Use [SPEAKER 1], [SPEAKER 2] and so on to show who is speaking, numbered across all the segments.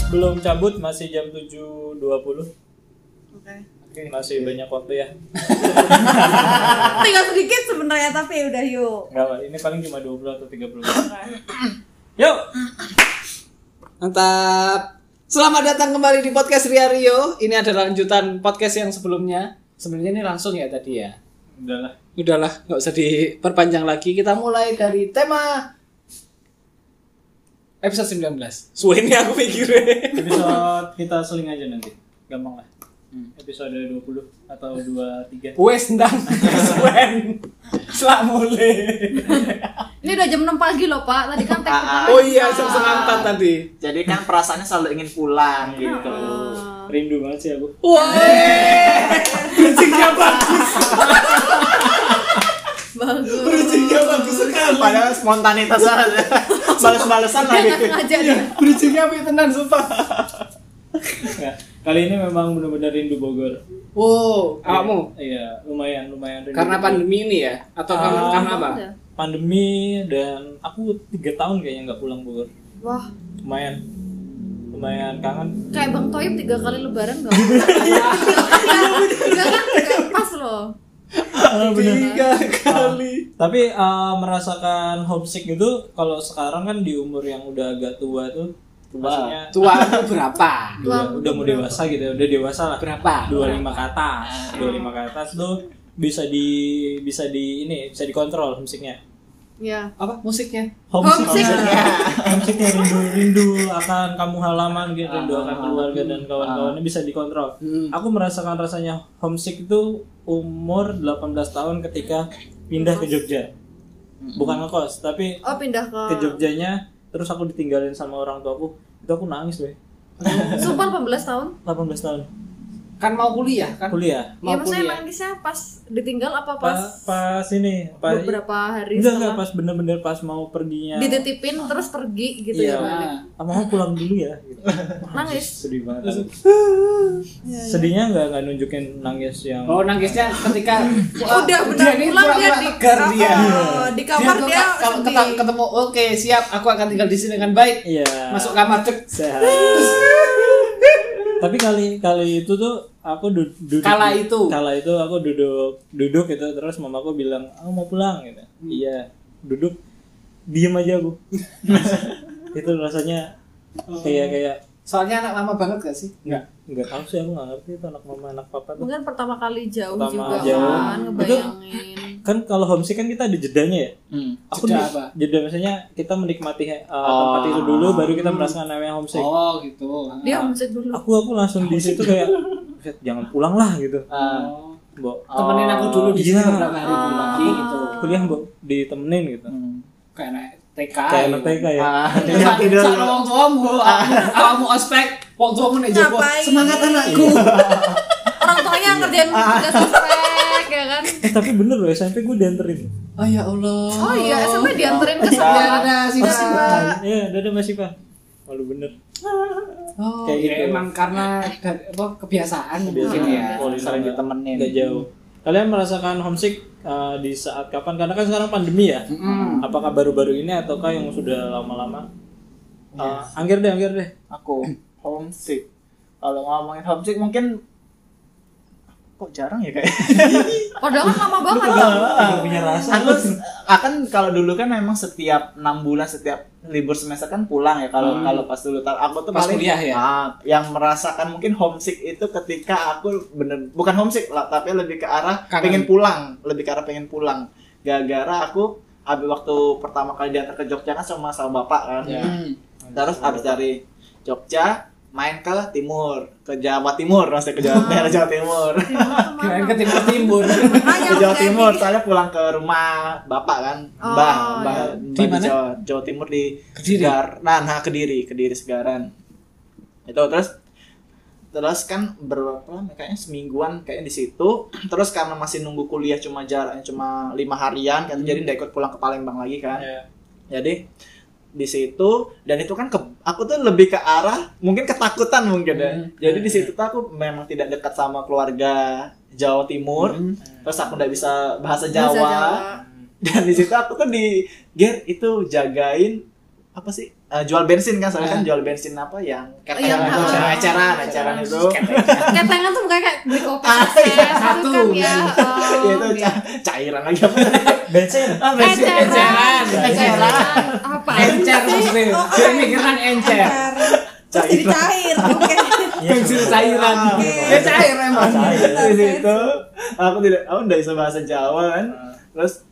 [SPEAKER 1] Sebelum cabut masih jam 7.20.
[SPEAKER 2] Oke.
[SPEAKER 1] Masih banyak waktu ya.
[SPEAKER 2] Tinggal sedikit sebenarnya tapi udah yuk.
[SPEAKER 1] Enggak, Pak. ini paling cuma 20 atau 30 Yuk.
[SPEAKER 3] Mantap. Selamat datang kembali di podcast Ria Rio. Ini adalah lanjutan podcast yang sebelumnya. Sebenarnya ini langsung ya tadi ya.
[SPEAKER 1] Udahlah.
[SPEAKER 3] Udahlah, nggak usah diperpanjang lagi. Kita mulai dari tema episode 19. Suwe ini ya, aku pikir.
[SPEAKER 1] Episode kita seling aja nanti. Gampang lah. Episode 20 atau 23.
[SPEAKER 3] Wes ndang. Suwen. Selak mulai.
[SPEAKER 2] Ini udah jam 6 pagi loh Pak. Tadi kan tag pertama.
[SPEAKER 3] Oh iya, jam setengah empat tadi.
[SPEAKER 4] Jadi kan perasaannya selalu ingin pulang gitu.
[SPEAKER 1] Rindu banget sih aku.
[SPEAKER 3] Wah. Bridgingnya bagus.
[SPEAKER 2] Bagus.
[SPEAKER 3] Bridgingnya bagus sekali.
[SPEAKER 4] Padahal spontanitas aja. Balas-balasan
[SPEAKER 2] Dia
[SPEAKER 4] lagi.
[SPEAKER 2] nggak sengaja dia.
[SPEAKER 3] Bridgingnya api tenan sumpah.
[SPEAKER 1] Nah, kali ini memang benar-benar rindu Bogor.
[SPEAKER 3] Wow, kamu
[SPEAKER 1] Iya, lumayan lumayan rindu.
[SPEAKER 3] karena
[SPEAKER 1] Bogor.
[SPEAKER 3] pandemi ini ya atau
[SPEAKER 1] Ah.
[SPEAKER 3] karena, karena apa?
[SPEAKER 2] Iya.
[SPEAKER 1] pandemi dan aku tiga tahun kayaknya nggak pulang Bogor.
[SPEAKER 2] Wah,
[SPEAKER 1] Lumayan lumayan kangen.
[SPEAKER 2] kayak Bang Toib tiga kali lebaran nggak?
[SPEAKER 3] Iya.
[SPEAKER 2] Enggak Iya. kan? Nggak pas loh.
[SPEAKER 3] Tiga kali.
[SPEAKER 1] Tapi eh, merasakan homesick itu kalau sekarang kan di umur yang udah agak tua tuh maksudnya
[SPEAKER 3] Tua aku berapa?
[SPEAKER 1] udah,
[SPEAKER 2] Tua.
[SPEAKER 1] udah mau dewasa gitu ya, udah dewasa lah.
[SPEAKER 3] Berapa? Ah.
[SPEAKER 1] 25 ke atas. 25 ke atas tuh bisa di bisa di ini bisa dikontrol homesicknya.
[SPEAKER 2] Ya.
[SPEAKER 3] Apa musiknya?
[SPEAKER 2] Homesick.
[SPEAKER 1] homesicknya rindu rindu akan kamu halaman gitu,
[SPEAKER 3] Ah,
[SPEAKER 1] rindu akan keluarga dan kawan-kawannya bisa dikontrol.
[SPEAKER 3] Hmm.
[SPEAKER 1] Aku merasakan rasanya homesick itu umur 18 tahun ketika pindah ke Jogja. Bukan ngekos, tapi
[SPEAKER 2] Oh pindah ke.
[SPEAKER 1] ke Jogjanya terus aku ditinggalin sama orang tuaku itu aku nangis deh
[SPEAKER 2] Sumpah 18 tahun.
[SPEAKER 1] 18 tahun
[SPEAKER 3] Kan mau kuliah kan?
[SPEAKER 1] kuliah
[SPEAKER 2] Ya
[SPEAKER 3] Mau
[SPEAKER 2] maksudnya
[SPEAKER 3] kuliah.
[SPEAKER 2] nangisnya pas ditinggal apa
[SPEAKER 1] pas
[SPEAKER 2] pas
[SPEAKER 1] pas ini pas
[SPEAKER 2] beberapa hari
[SPEAKER 1] enggak enggak
[SPEAKER 2] setelah
[SPEAKER 1] pas bener-bener pas mau perginya
[SPEAKER 2] dititipin terus pergi gitu
[SPEAKER 1] iya
[SPEAKER 2] ya balik.
[SPEAKER 1] sama pulang dulu ya gitu.
[SPEAKER 2] Nangis. Iya,
[SPEAKER 1] sedih banget aku. sedihnya nggak nggak nunjukin nangis yang
[SPEAKER 3] Oh nangisnya ketika
[SPEAKER 2] Udah
[SPEAKER 3] Wah,
[SPEAKER 2] benar
[SPEAKER 3] dia ini
[SPEAKER 2] pulang dia
[SPEAKER 3] pura-pura
[SPEAKER 2] di
[SPEAKER 3] tegar dia.
[SPEAKER 2] Oh, di kamar
[SPEAKER 3] tuh
[SPEAKER 2] dia
[SPEAKER 3] ka- kalau
[SPEAKER 2] sedih.
[SPEAKER 3] keta- ketemu oke siap aku akan tinggal di sini dengan baik.
[SPEAKER 1] iya
[SPEAKER 3] Masuk kamar cek.
[SPEAKER 1] sehat tapi kali kali itu tuh aku du- duduk
[SPEAKER 3] Kala itu.
[SPEAKER 1] kala itu aku duduk duduk gitu terus mamaku bilang aku mau pulang gitu
[SPEAKER 3] Hmm.
[SPEAKER 1] iya duduk diem aja aku itu rasanya kayak
[SPEAKER 3] Oh.
[SPEAKER 1] kayak
[SPEAKER 3] Soalnya anak lama banget gak sih?
[SPEAKER 1] nggak nggak tahu sih aku nggak ngerti itu anak mama anak papa tuh
[SPEAKER 2] Mungkin pertama kali jauh
[SPEAKER 1] Pertama
[SPEAKER 2] juga
[SPEAKER 1] jauh.
[SPEAKER 2] kan
[SPEAKER 1] Betul.
[SPEAKER 2] ngebayangin.
[SPEAKER 1] kan kalau homesick kan kita ada jedanya ya aku
[SPEAKER 3] Hmm. Jeda
[SPEAKER 1] nih-
[SPEAKER 3] apa?
[SPEAKER 1] jeda misalnya kita menikmati uh, tempat itu dulu baru kita merasakan namanya homesick
[SPEAKER 3] Oh gitu.
[SPEAKER 2] Dia homesick dulu.
[SPEAKER 1] aku aku langsung di situ kayak "Buset, jangan pulang lah gitu
[SPEAKER 3] Oh.
[SPEAKER 1] mbok
[SPEAKER 3] Temenin aku dulu di sini
[SPEAKER 1] Iya.
[SPEAKER 3] beberapa hari dulu lagi gitu. Hmm.
[SPEAKER 1] kuliah mbok ditemenin gitu
[SPEAKER 3] Kayak anak TK.
[SPEAKER 1] kayak anak TK ya
[SPEAKER 3] Jangan Iya, tidur. Ah. Sama wong tuamu, awakmu ospek, wong tuamu nek jopo.
[SPEAKER 2] Ngapain?
[SPEAKER 3] Semangat Iya. Ah. anakku.
[SPEAKER 2] Orang tuanya ngerjain tugas ospek ya kan.
[SPEAKER 1] Eh, tapi bener loh SMP gue dianterin
[SPEAKER 3] Oh ya Allah.
[SPEAKER 2] Oh iya, SMP dianterin ke
[SPEAKER 3] Ya
[SPEAKER 2] sekolah.
[SPEAKER 3] ada sih.
[SPEAKER 1] Iya, dadah Mas Ipa. Malu bener.
[SPEAKER 3] Oh,
[SPEAKER 1] Kayak
[SPEAKER 3] ya
[SPEAKER 1] gitu.
[SPEAKER 3] emang karena dari, apa kebiasaan mungkin
[SPEAKER 1] Biasanya
[SPEAKER 3] ya.
[SPEAKER 1] kalau
[SPEAKER 4] Sering
[SPEAKER 1] nggak-
[SPEAKER 4] ditemenin.
[SPEAKER 1] nggak jauh. Kalian merasakan homesick uh, di saat kapan? Karena kan sekarang pandemi ya. Apakah baru-baru ini ataukah yang sudah lama-lama?
[SPEAKER 3] Iya.
[SPEAKER 1] Uh, Angger deh, angger deh.
[SPEAKER 4] Aku homesick. Kalau ngomongin homesick mungkin kok jarang ya kayak.
[SPEAKER 2] Padahal kan lama banget Bang.
[SPEAKER 1] punya rasa.
[SPEAKER 4] Aku akan kalau dulu kan memang setiap enam bulan setiap libur semester kan pulang ya kalau kalau pas dulu Tar- aku tuh
[SPEAKER 3] Pas
[SPEAKER 4] paling
[SPEAKER 3] kuliah ya?
[SPEAKER 4] Ah, yang merasakan mungkin homesick itu ketika aku bener bukan homesick lah tapi lebih ke arah
[SPEAKER 3] Kangen.
[SPEAKER 4] pengen pulang lebih ke arah pengen pulang gara-gara aku habis waktu pertama kali diantar ke Jogja kan sama sama bapak kan
[SPEAKER 3] Hmm.
[SPEAKER 4] terus habis dari Jogja main ke timur ke Jawa Timur maksudnya ke
[SPEAKER 3] Oh.
[SPEAKER 4] Jawa, daerah Jawa Timur
[SPEAKER 3] Ah. Kirain ke timur timur.
[SPEAKER 2] Iya, Ah, ya,
[SPEAKER 4] ke Jawa Timur soalnya pulang ke rumah bapak kan
[SPEAKER 2] Oh,
[SPEAKER 4] mbah mbah
[SPEAKER 2] iya.
[SPEAKER 4] mbah
[SPEAKER 3] Di mana?
[SPEAKER 4] Jawa, Jawa Timur di
[SPEAKER 3] Kediri?
[SPEAKER 4] Segar- nah, nah kediri kediri segaran itu terus terus kan berapa lama, kayaknya semingguan kayaknya di situ terus karena masih nunggu kuliah cuma jaraknya cuma lima harian kan jadi nggak ikut pulang ke Palembang lagi kan
[SPEAKER 1] Iya.
[SPEAKER 4] jadi di situ dan itu kan ke, aku tuh lebih ke arah mungkin ketakutan mungkin ya. Jadi di situ tuh aku memang tidak dekat sama keluarga Jawa Timur.
[SPEAKER 1] Hmm.
[SPEAKER 4] Terus aku nggak bisa bahasa Jawa.
[SPEAKER 2] Jawa.
[SPEAKER 4] Dan di situ aku tuh di Ger itu jagain apa sih? eh, jual bensin kan soalnya kan jual bensin apa yang
[SPEAKER 2] Iya,
[SPEAKER 4] ketengan itu
[SPEAKER 2] ah.
[SPEAKER 4] acara acara acaraan itu
[SPEAKER 3] Ah,
[SPEAKER 2] Ketengan tuh bukan kayak beli kopi
[SPEAKER 4] Ah,
[SPEAKER 2] akses,
[SPEAKER 4] iya,
[SPEAKER 2] gitu
[SPEAKER 3] satu.
[SPEAKER 2] kan ya.
[SPEAKER 4] ya itu
[SPEAKER 2] oh.
[SPEAKER 4] ca- cairan lagi apa
[SPEAKER 1] bensin
[SPEAKER 3] Ah, bensin
[SPEAKER 2] Eceran.
[SPEAKER 3] eceran.
[SPEAKER 2] Eceran. Apa?
[SPEAKER 3] Encer
[SPEAKER 2] Oh,
[SPEAKER 3] maksudnya. Jadi mikiran encer.
[SPEAKER 5] Terus jadi cair. Oke.
[SPEAKER 1] Iya,
[SPEAKER 3] Bensin cairan.
[SPEAKER 5] Oke.
[SPEAKER 3] Ya cair emang.
[SPEAKER 4] di situ aku tidak aku tidak bisa bahasa Jawa kan terus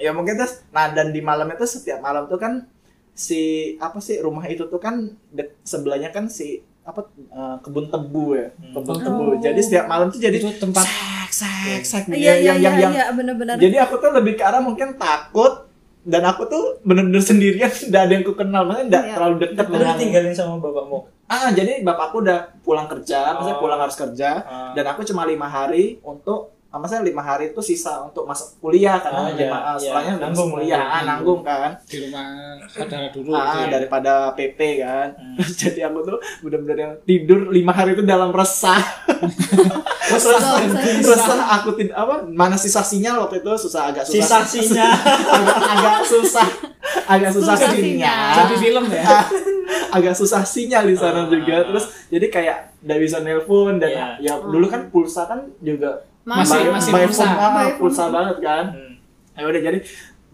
[SPEAKER 4] ya mungkin terus nah dan di malam itu setiap malam tuh kan si apa sih rumah itu tuh kan dek- sebelahnya kan si apa eh, kebun tebu ya kebun
[SPEAKER 3] Oh.
[SPEAKER 4] tebu jadi setiap malam tuh jadi
[SPEAKER 3] Itu tempat
[SPEAKER 4] sek sek sek
[SPEAKER 2] Iya, iya,
[SPEAKER 4] ya, yang
[SPEAKER 2] iya,
[SPEAKER 4] yang yang
[SPEAKER 2] iya, benar-benar.
[SPEAKER 4] jadi aku tuh lebih ke arah mungkin takut dan aku tuh bener-bener sendirian tidak ada yang ku kenal maksudnya tidak
[SPEAKER 2] Iya.
[SPEAKER 4] terlalu dekat
[SPEAKER 1] udah ditinggalin sama bapakmu
[SPEAKER 4] ah jadi bapakku udah pulang kerja maksudnya
[SPEAKER 1] Oh.
[SPEAKER 4] pulang harus kerja
[SPEAKER 1] Ah.
[SPEAKER 4] dan aku cuma lima hari untuk ah, maksudnya lima hari itu sisa untuk masuk kuliah
[SPEAKER 1] Ah,
[SPEAKER 4] karena lima
[SPEAKER 1] iya,
[SPEAKER 4] ah,
[SPEAKER 1] iya.
[SPEAKER 4] setelahnya udah masuk
[SPEAKER 1] Nanggung,
[SPEAKER 4] kuliah
[SPEAKER 1] nanggung,
[SPEAKER 4] ah, nanggung kan
[SPEAKER 3] di rumah saudara dulu.
[SPEAKER 4] ah,
[SPEAKER 1] iya.
[SPEAKER 3] gitu ya.
[SPEAKER 4] daripada PP kan
[SPEAKER 1] Hmm.
[SPEAKER 4] jadi aku tuh bener-bener yang tidur lima hari itu dalam resah resah resah aku tidak apa mana sisa sinyal waktu itu susah agak susah
[SPEAKER 1] sisasinya
[SPEAKER 4] agak, agak susah agak susah,
[SPEAKER 2] Susah
[SPEAKER 4] sinyal
[SPEAKER 2] sinyal.
[SPEAKER 3] Jadi film ya.
[SPEAKER 4] Ah, agak susah sinyal di sana
[SPEAKER 1] Ah.
[SPEAKER 4] juga terus jadi kayak nggak bisa nelpon dan ya
[SPEAKER 1] Iya.
[SPEAKER 4] dulu kan pulsa kan juga
[SPEAKER 3] Masih-
[SPEAKER 4] by-
[SPEAKER 3] masih
[SPEAKER 4] by
[SPEAKER 3] pulsa.
[SPEAKER 4] phone, ah,
[SPEAKER 2] By phone.
[SPEAKER 4] pulsa banget kan ya udah jadi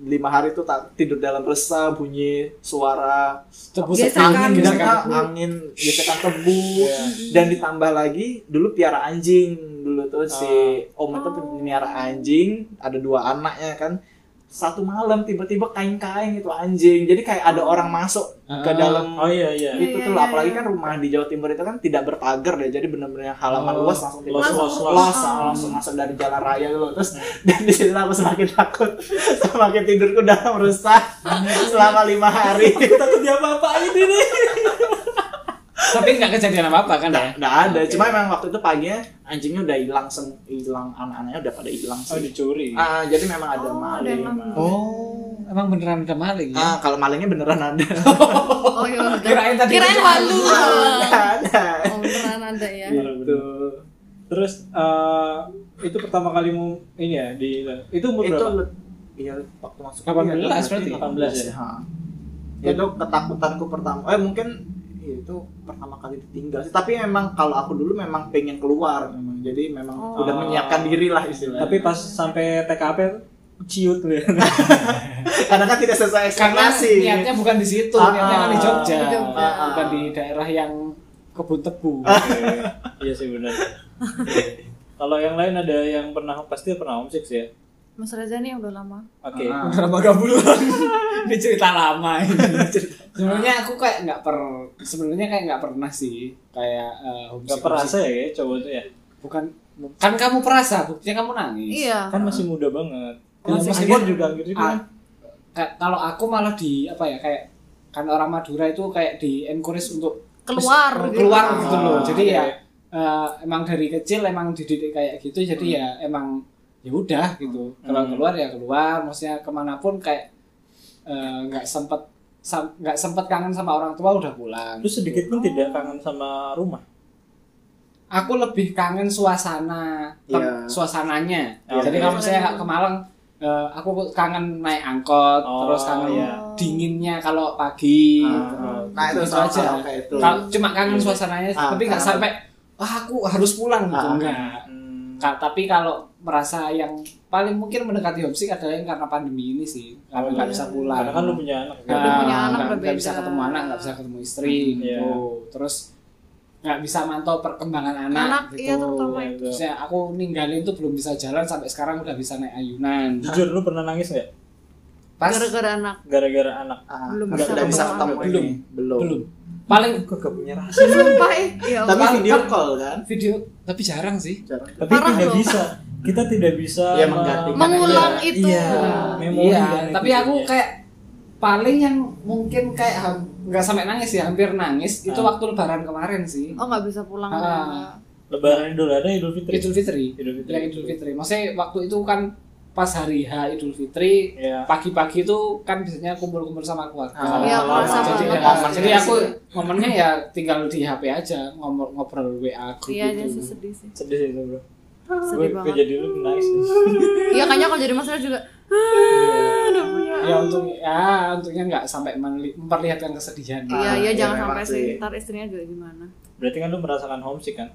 [SPEAKER 4] lima hari itu tak tidur dalam resah bunyi suara
[SPEAKER 3] Tebu
[SPEAKER 2] Gesekan.
[SPEAKER 3] angin, gitu kan.
[SPEAKER 4] dan
[SPEAKER 3] gesekan
[SPEAKER 4] ah,
[SPEAKER 3] tebu.
[SPEAKER 4] angin gesekan tebu
[SPEAKER 1] Iya.
[SPEAKER 4] dan ditambah lagi dulu piara anjing dulu tuh si
[SPEAKER 1] Oh.
[SPEAKER 4] om itu piara anjing ada dua anaknya kan satu malam tiba-tiba kain-kain itu anjing jadi kayak ada orang masuk ke
[SPEAKER 3] Ah.
[SPEAKER 4] dalam
[SPEAKER 1] oh iya iya
[SPEAKER 4] gitu
[SPEAKER 2] Iya,
[SPEAKER 4] tuh
[SPEAKER 2] iya,
[SPEAKER 4] lah. apalagi
[SPEAKER 2] iya.
[SPEAKER 4] kan rumah di Jawa Timur itu kan tidak berpagar ya jadi benar-benar halaman
[SPEAKER 1] Oh,
[SPEAKER 4] luas langsung tiba
[SPEAKER 1] los-
[SPEAKER 4] los,
[SPEAKER 1] los- los.
[SPEAKER 4] ah, langsung masuk dari jalan raya dulu terus dan di sini aku semakin takut semakin tidurku dalam rusak selama lima hari
[SPEAKER 1] takut dia apa-apain ini
[SPEAKER 3] Tapi nggak kejadian apa-apa kan ya?
[SPEAKER 4] nggak nggak ada cuma emang waktu itu paginya anjingnya udah hilang sem hilang anak-anaknya udah pada hilang
[SPEAKER 1] oh
[SPEAKER 4] sih
[SPEAKER 1] dicuri
[SPEAKER 4] ah jadi memang ada
[SPEAKER 2] Oh, ada
[SPEAKER 4] maling
[SPEAKER 2] yang ambil.
[SPEAKER 3] Oh, emang beneran ada maling ya?
[SPEAKER 4] ah kalau malingnya beneran ada
[SPEAKER 2] Oh, iya, udah.
[SPEAKER 3] Kirain tadi
[SPEAKER 2] Kirain
[SPEAKER 3] itu-
[SPEAKER 2] halu.
[SPEAKER 4] ada
[SPEAKER 2] Oh, beneran ada ya.
[SPEAKER 4] gitu
[SPEAKER 1] Iya, terus eh, itu pertama kali mau ini ya di itu umur
[SPEAKER 4] itu
[SPEAKER 1] berapa
[SPEAKER 4] le- iya waktu masuk
[SPEAKER 3] 18
[SPEAKER 4] kuliah,
[SPEAKER 3] berarti.
[SPEAKER 1] 18 ya?
[SPEAKER 4] Ha. Ya, itu ketakutanku pertama eh mungkin ya, itu pertama kali ditinggal sih tapi memang kalau aku dulu memang pengen keluar memang jadi memang
[SPEAKER 2] Oh.
[SPEAKER 4] udah menyiapkan diri lah istilahnya
[SPEAKER 1] tapi pas sampai TKP ciut lu ya
[SPEAKER 4] karena kan tidak sesuai
[SPEAKER 3] Karena
[SPEAKER 4] ekspektasi
[SPEAKER 3] niatnya bukan di situ,
[SPEAKER 4] Ah,
[SPEAKER 3] niatnya kan di Jogja,
[SPEAKER 2] di Jogja.
[SPEAKER 3] bukan di daerah yang kebun tebu.
[SPEAKER 1] iya sih benar kalau yang lain ada yang pernah pasti pernah homesick sih ya
[SPEAKER 2] Mas Reza nih udah lama.
[SPEAKER 1] oke
[SPEAKER 4] Ah.
[SPEAKER 3] Udah lama gak bulan. ini cerita lama ini. sebenarnya aku kayak nggak per, sebenarnya kayak nggak pernah sih kayak eh, homesick-
[SPEAKER 1] nggak perasa ya kayak cowok tuh ya
[SPEAKER 3] Bukan, kan kamu perasa, buktinya kamu nangis.
[SPEAKER 2] Iya.
[SPEAKER 1] kan masih muda banget
[SPEAKER 3] Kalau
[SPEAKER 1] Kalau masih
[SPEAKER 3] saya-
[SPEAKER 1] muda juga gitu
[SPEAKER 3] Ah,
[SPEAKER 1] kan
[SPEAKER 3] ka- kalau aku malah di apa ya kayak kan orang Madura itu kayak di encourage untuk
[SPEAKER 2] Keluar
[SPEAKER 3] kes-
[SPEAKER 2] gitu.
[SPEAKER 3] keluar
[SPEAKER 2] Ah,
[SPEAKER 3] gitu loh. Jadi
[SPEAKER 1] oke.
[SPEAKER 3] ya eh, emang dari kecil emang dididik kayak gitu jadi ya emang ya udah gitu. Kalau
[SPEAKER 1] Hmm.
[SPEAKER 3] keluar ya keluar, maksudnya kemanapun kayak eh, nggak sempet sam- nggak sempet kangen sama orang tua udah pulang.
[SPEAKER 1] terus
[SPEAKER 3] gitu.
[SPEAKER 1] sedikit pun tidak kangen sama rumah
[SPEAKER 3] Aku lebih kangen suasana tem-
[SPEAKER 4] Iya.
[SPEAKER 3] suasananya.
[SPEAKER 1] Iya.
[SPEAKER 3] Jadi kalau misalnya nggak ke Malang eh, aku kangen naik angkot,
[SPEAKER 1] Oh,
[SPEAKER 3] terus kangen
[SPEAKER 1] iya.
[SPEAKER 3] dinginnya kalau pagi. gitu.
[SPEAKER 4] Ah, nah itu
[SPEAKER 3] Gitu
[SPEAKER 4] sama
[SPEAKER 3] aja.
[SPEAKER 4] aja kayak itu
[SPEAKER 3] Kalau cuma kangen suasananya,
[SPEAKER 4] Ah,
[SPEAKER 3] tapi nggak
[SPEAKER 4] kangen.
[SPEAKER 3] sampai "Wah, aku harus pulang gitu
[SPEAKER 4] Ah.
[SPEAKER 3] enggak.
[SPEAKER 1] Hmm.
[SPEAKER 3] Ka- tapi kalau merasa yang paling mungkin mendekati homesick adalah yang karena pandemi ini sih, karena
[SPEAKER 1] Oh,
[SPEAKER 3] nggak
[SPEAKER 1] iya.
[SPEAKER 3] bisa pulang.
[SPEAKER 1] karena kan lu punya anak
[SPEAKER 3] Nah,
[SPEAKER 1] kan?
[SPEAKER 2] Udah punya anak
[SPEAKER 3] nggak- nggak
[SPEAKER 2] berbeda.
[SPEAKER 3] bisa ketemu anak, nggak bisa ketemu istri
[SPEAKER 1] Hmm,
[SPEAKER 3] gitu. Terus nggak bisa mantau perkembangan anak.
[SPEAKER 2] Anak,
[SPEAKER 3] gitu.
[SPEAKER 2] iya, terutama
[SPEAKER 1] Ya, itu.
[SPEAKER 3] Terus ya, aku ninggalin tuh belum bisa jalan sampai sekarang udah bisa naik ayunan.
[SPEAKER 1] jujur lu pernah nangis nggak
[SPEAKER 3] Pas
[SPEAKER 2] Gara-gara anak.
[SPEAKER 1] gara-gara anak
[SPEAKER 4] Ah,
[SPEAKER 2] Belum
[SPEAKER 4] nggak
[SPEAKER 2] bisa
[SPEAKER 4] nggak bisa
[SPEAKER 2] ketemu.
[SPEAKER 4] ketemu
[SPEAKER 3] Belum.
[SPEAKER 4] ini. belum
[SPEAKER 3] belum. Paling
[SPEAKER 4] kok gak punya rasa
[SPEAKER 2] Sumpah eh. Ya
[SPEAKER 4] tapi
[SPEAKER 2] Allah.
[SPEAKER 4] video call kan
[SPEAKER 3] video tapi jarang sih.
[SPEAKER 4] jarang
[SPEAKER 1] tapi
[SPEAKER 2] Parah
[SPEAKER 1] tidak
[SPEAKER 2] loh.
[SPEAKER 1] bisa kita tidak bisa
[SPEAKER 4] Ya,
[SPEAKER 1] me-
[SPEAKER 4] menggantikan
[SPEAKER 2] Mengulang
[SPEAKER 4] aja.
[SPEAKER 2] itu.
[SPEAKER 1] Iya. memori dan
[SPEAKER 3] iya,
[SPEAKER 1] itu
[SPEAKER 3] tapi aku
[SPEAKER 1] ya.
[SPEAKER 3] kayak paling yang mungkin kayak ham- nggak sampai nangis ya, hampir nangis itu
[SPEAKER 1] Ah.
[SPEAKER 3] waktu lebaran kemarin sih.
[SPEAKER 2] Oh nggak bisa pulang.
[SPEAKER 3] Ah.
[SPEAKER 2] Nggak.
[SPEAKER 1] lebaran idul adha idul fitri
[SPEAKER 3] Idul Fitri.
[SPEAKER 1] Idul Fitri.
[SPEAKER 3] Bilang Idul Fitri. Maksudnya waktu itu kan pas hari H Idul Fitri,
[SPEAKER 1] Iya.
[SPEAKER 3] pagi-pagi itu kan biasanya kumpul-kumpul sama keluarga.
[SPEAKER 4] Ah,
[SPEAKER 2] Iya, kerasa
[SPEAKER 3] jadi,
[SPEAKER 2] banget.
[SPEAKER 3] ya,
[SPEAKER 4] Momen
[SPEAKER 3] jadi
[SPEAKER 4] ya
[SPEAKER 3] aku
[SPEAKER 4] sih.
[SPEAKER 3] momennya ya tinggal di HP aja ngomong ngobrol WA grup
[SPEAKER 2] Iya aja sih
[SPEAKER 3] gitu.
[SPEAKER 2] sedih sih.
[SPEAKER 1] sedih itu bro
[SPEAKER 2] Sedih
[SPEAKER 1] gue
[SPEAKER 2] banget.
[SPEAKER 1] Ah. jadi lu nangis
[SPEAKER 2] Iya kayaknya kalau jadi masalah juga. "Ah, Udah punya
[SPEAKER 3] ya untung ya untungnya nggak sampai meli- memperlihatkan kesedihan
[SPEAKER 2] Iya, iya
[SPEAKER 4] iya,
[SPEAKER 2] jangan
[SPEAKER 4] memang
[SPEAKER 2] sampai sih.
[SPEAKER 4] sih.
[SPEAKER 2] Ntar istrinya juga gimana.
[SPEAKER 1] Berarti kan lu merasakan homesick kan?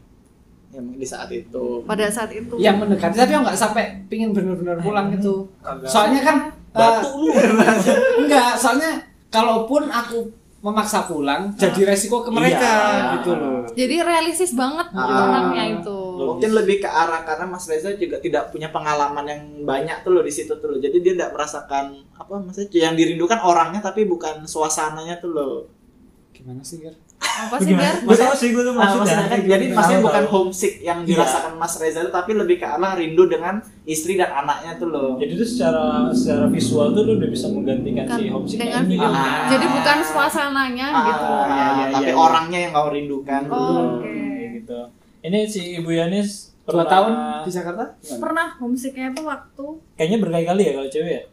[SPEAKER 4] Emang di saat itu.
[SPEAKER 2] Pada saat itu.
[SPEAKER 3] yang mendekati tapi nggak sampai pingin benar-benar pulang gitu
[SPEAKER 4] Agak-
[SPEAKER 3] soalnya kan
[SPEAKER 1] Batu lu.
[SPEAKER 3] eh, enggak soalnya kalaupun aku memaksa pulang jadi resiko ke mereka
[SPEAKER 4] Iya.
[SPEAKER 3] gitu loh
[SPEAKER 2] Jadi realistis banget
[SPEAKER 4] Ah.
[SPEAKER 2] orangnya itu.
[SPEAKER 4] Mungkin lebih ke arah karena Mas Reza juga tidak punya pengalaman yang banyak tuh loh di situ tuh loh. Jadi dia tidak merasakan apa maksudnya yang dirindukan orangnya tapi bukan suasananya tuh loh.
[SPEAKER 3] gimana sih Ger?
[SPEAKER 2] Apa sih Ber?
[SPEAKER 1] Masalah sih gue tuh
[SPEAKER 4] Ah, maksudnya kan, jadi maksudnya bukan
[SPEAKER 1] homesick.
[SPEAKER 4] homesick yang
[SPEAKER 1] Iya.
[SPEAKER 4] dirasakan Mas Reza tapi lebih ke arah rindu dengan istri dan anaknya tuh loh.
[SPEAKER 1] Jadi tuh secara secara visual tuh lu udah bisa menggantikan si
[SPEAKER 2] Bukan.
[SPEAKER 1] homesick
[SPEAKER 2] Dengan
[SPEAKER 1] ini.
[SPEAKER 2] video.
[SPEAKER 4] Ah.
[SPEAKER 2] Jadi bukan suasananya
[SPEAKER 4] Ah,
[SPEAKER 2] gitu.
[SPEAKER 1] Iya, iya,
[SPEAKER 4] tapi
[SPEAKER 1] iya.
[SPEAKER 4] orangnya yang kau rindukan.
[SPEAKER 2] Oh,
[SPEAKER 4] tuh.
[SPEAKER 2] oke.
[SPEAKER 1] Kayak gitu. Ini si Ibu Yanis
[SPEAKER 3] dua
[SPEAKER 1] pernah-
[SPEAKER 3] tahun di Jakarta Gimana?
[SPEAKER 2] Pernah homesicknya itu waktu
[SPEAKER 1] kayaknya berkali-kali ya kalau cewek ya?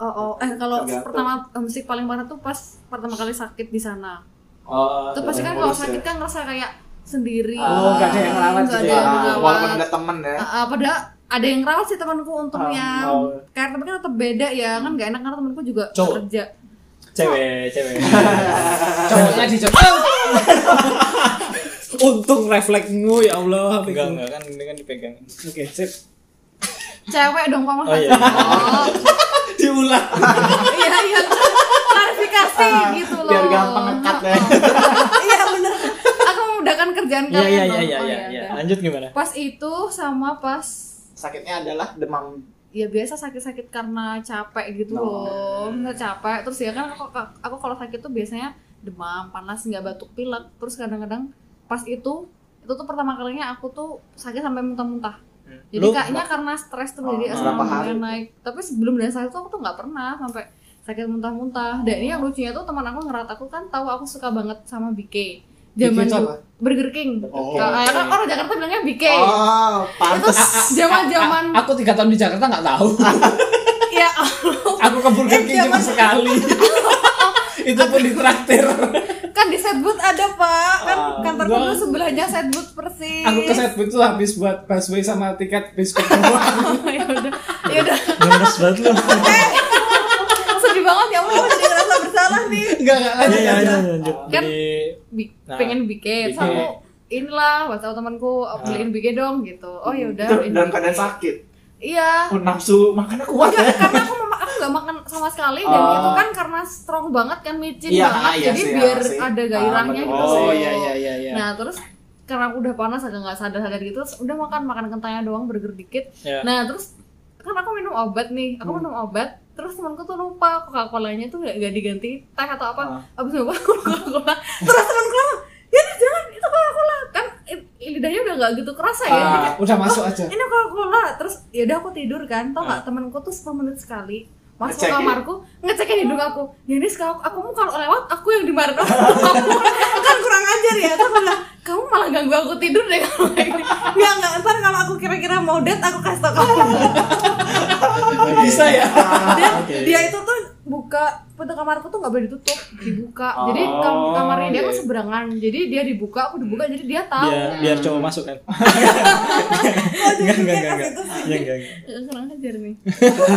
[SPEAKER 2] Oh, oh. eh kalau
[SPEAKER 4] Tergantung.
[SPEAKER 2] pertama homesick paling parah tuh pas pertama kali sakit di sana.
[SPEAKER 1] Oh,
[SPEAKER 2] Itu pasti kan kalau sakit kan ngerasa kayak sendiri.
[SPEAKER 3] Oh, nggak ada yang ngerawat
[SPEAKER 2] nggak ada
[SPEAKER 3] gitu ya.
[SPEAKER 2] yang
[SPEAKER 4] Ah,
[SPEAKER 2] ngerawat.
[SPEAKER 4] walaupun ada temen ya.
[SPEAKER 2] Ah, ah, padahal ada yang ngerawat sih temanku untungnya.
[SPEAKER 1] Ah, oh.
[SPEAKER 2] Karena tapi kan tetap beda ya, kan nggak enak karena temanku juga
[SPEAKER 1] Cowok.
[SPEAKER 2] kerja.
[SPEAKER 1] cewek, cewek.
[SPEAKER 3] cowoknya di Jakarta untung refleksmu ya Allah
[SPEAKER 1] enggak, enggak kan ini kan dipegang.
[SPEAKER 3] oke sip
[SPEAKER 2] Cewek dong kamu.
[SPEAKER 1] Oh iya.
[SPEAKER 2] Oh,
[SPEAKER 3] diulang
[SPEAKER 2] iya iya. Klarifikasi gitu loh.
[SPEAKER 4] Ah, biar gampang ngekat ya.
[SPEAKER 5] Iya bener.
[SPEAKER 2] Aku memudahkan kerjaan
[SPEAKER 1] Iya,
[SPEAKER 2] kalian.
[SPEAKER 1] iya,
[SPEAKER 2] dong.
[SPEAKER 1] iya, iya, iya,
[SPEAKER 2] Oh,
[SPEAKER 1] iya.
[SPEAKER 2] udah.
[SPEAKER 1] Lanjut gimana?
[SPEAKER 2] Pas itu sama pas
[SPEAKER 4] Sakitnya adalah demam.
[SPEAKER 2] ya biasa sakit-sakit karena capek gitu
[SPEAKER 4] No.
[SPEAKER 2] loh Misalnya capek terus ya kan aku, aku kalau sakit tuh biasanya demam panas nggak batuk pilek terus kadang-kadang pas itu itu tuh pertama kalinya aku tuh sakit sampai muntah-muntah jadi
[SPEAKER 1] Lu-
[SPEAKER 2] kayaknya karena stres tuh
[SPEAKER 4] Oh,
[SPEAKER 2] jadi
[SPEAKER 4] berapa
[SPEAKER 2] asam
[SPEAKER 4] hari
[SPEAKER 2] lambungnya
[SPEAKER 4] tuh?
[SPEAKER 2] naik tapi sebelum dari sakit tuh aku tuh nggak pernah sampai sakit muntah-muntah dan ini yang
[SPEAKER 4] Oh.
[SPEAKER 2] lucunya tuh teman aku ngerat aku kan tahu aku suka banget sama BK zaman
[SPEAKER 3] Bikin
[SPEAKER 2] dulu
[SPEAKER 3] apa?
[SPEAKER 2] Burger King
[SPEAKER 4] Oh,
[SPEAKER 2] Nah,
[SPEAKER 4] oke.
[SPEAKER 2] kan orang Jakarta bilangnya BK
[SPEAKER 4] Oh,
[SPEAKER 2] itu
[SPEAKER 4] pantas.
[SPEAKER 2] zaman-zaman
[SPEAKER 3] aku tiga tahun di Jakarta nggak tahu
[SPEAKER 2] ya
[SPEAKER 3] aku ke Burger King
[SPEAKER 1] Iya,
[SPEAKER 3] cuma sekali itu pun ditraktir
[SPEAKER 2] kan di setbut ada pak kan
[SPEAKER 3] Ah,
[SPEAKER 2] kantorku
[SPEAKER 3] enggak.
[SPEAKER 2] dulu sebelahnya setbut persis
[SPEAKER 3] aku ke Setbun tuh habis buat busway sama tiket biskuit doang.
[SPEAKER 2] ya udah ya udah
[SPEAKER 1] Gemes banget lu. Iya,
[SPEAKER 2] sedih banget ya
[SPEAKER 5] Aku
[SPEAKER 2] Allah
[SPEAKER 5] jadi ngerasa bersalah nih.
[SPEAKER 3] enggak enggak
[SPEAKER 1] Iya,
[SPEAKER 3] lanjut
[SPEAKER 1] iya,
[SPEAKER 3] lanjut.
[SPEAKER 1] iya, lanjut.
[SPEAKER 2] Kan-
[SPEAKER 1] Jadi
[SPEAKER 2] Bi-
[SPEAKER 1] Nah,
[SPEAKER 2] pengen bikin terus
[SPEAKER 1] bikin.
[SPEAKER 2] aku inilah whatsapp temanku "Oh, beliin bikin dong gitu oh ya udah
[SPEAKER 4] Itu
[SPEAKER 2] beliin
[SPEAKER 4] dalam
[SPEAKER 2] bikin.
[SPEAKER 4] keadaan sakit.
[SPEAKER 2] iya
[SPEAKER 4] Oh, nafsu makannya kuat
[SPEAKER 2] Enggak,
[SPEAKER 4] ya.
[SPEAKER 2] karena aku mema- aku gak makan sama sekali dan
[SPEAKER 4] Oh.
[SPEAKER 2] itu kan karena strong banget kan micin
[SPEAKER 4] Iya,
[SPEAKER 2] banget
[SPEAKER 4] iya
[SPEAKER 2] jadi
[SPEAKER 4] sih, iya
[SPEAKER 2] biar
[SPEAKER 4] sih.
[SPEAKER 2] ada gairahnya
[SPEAKER 4] Ah,
[SPEAKER 2] gitu
[SPEAKER 4] betul.
[SPEAKER 3] oh
[SPEAKER 2] loh.
[SPEAKER 3] iya iya iya iya
[SPEAKER 2] Nah terus karena aku udah panas agak nggak sadar sadar gitu, terus udah makan makan kentangnya doang burger dikit.
[SPEAKER 1] Iya.
[SPEAKER 2] Nah terus kan aku minum obat nih, aku
[SPEAKER 4] Hmm.
[SPEAKER 2] minum obat. Terus temanku tuh lupa coca colanya tuh gak, gak diganti teh atau
[SPEAKER 4] Ah.
[SPEAKER 2] apa. Abis minum aku coca cola. Terus temanku lama, ya ini jangan itu coca cola kan i- lidahnya udah gak gitu kerasa ya. Jadi
[SPEAKER 3] Ah,
[SPEAKER 2] kayak,
[SPEAKER 3] udah masuk aja
[SPEAKER 2] Ini coca cola. Terus ya udah aku tidur kan, tau nggak temanku tuh 10 menit sekali masuk ke
[SPEAKER 4] Ngecek ya?
[SPEAKER 2] kamarku ngecekin hidung aku ya ini sekarang aku mau kalau lewat aku yang dimarahin aku
[SPEAKER 5] Kan kurang ajar ya. Terus aku bilang,
[SPEAKER 2] kamu malah ganggu aku tidur deh kalau kayak gini.
[SPEAKER 5] Enggak, enggak. Ntar kalau aku kira-kira mau date, aku kasih tau kamu.
[SPEAKER 3] bisa ya
[SPEAKER 5] Dia,
[SPEAKER 1] Oke.
[SPEAKER 5] dia itu tuh
[SPEAKER 2] buka pintu kamarku tuh nggak boleh ditutup dibuka jadi
[SPEAKER 4] Oh,
[SPEAKER 2] kam kamarnya dia
[SPEAKER 4] iya.
[SPEAKER 2] kan seberangan jadi dia dibuka aku dibuka jadi dia tahu
[SPEAKER 1] biar biar cowok masuk kan.
[SPEAKER 5] Oh, jadi
[SPEAKER 1] Enggak, enggak,
[SPEAKER 5] dia
[SPEAKER 1] enggak.
[SPEAKER 5] kasih tuh
[SPEAKER 1] Iya, enggak, enggak.
[SPEAKER 2] Eh, kurang ajar nih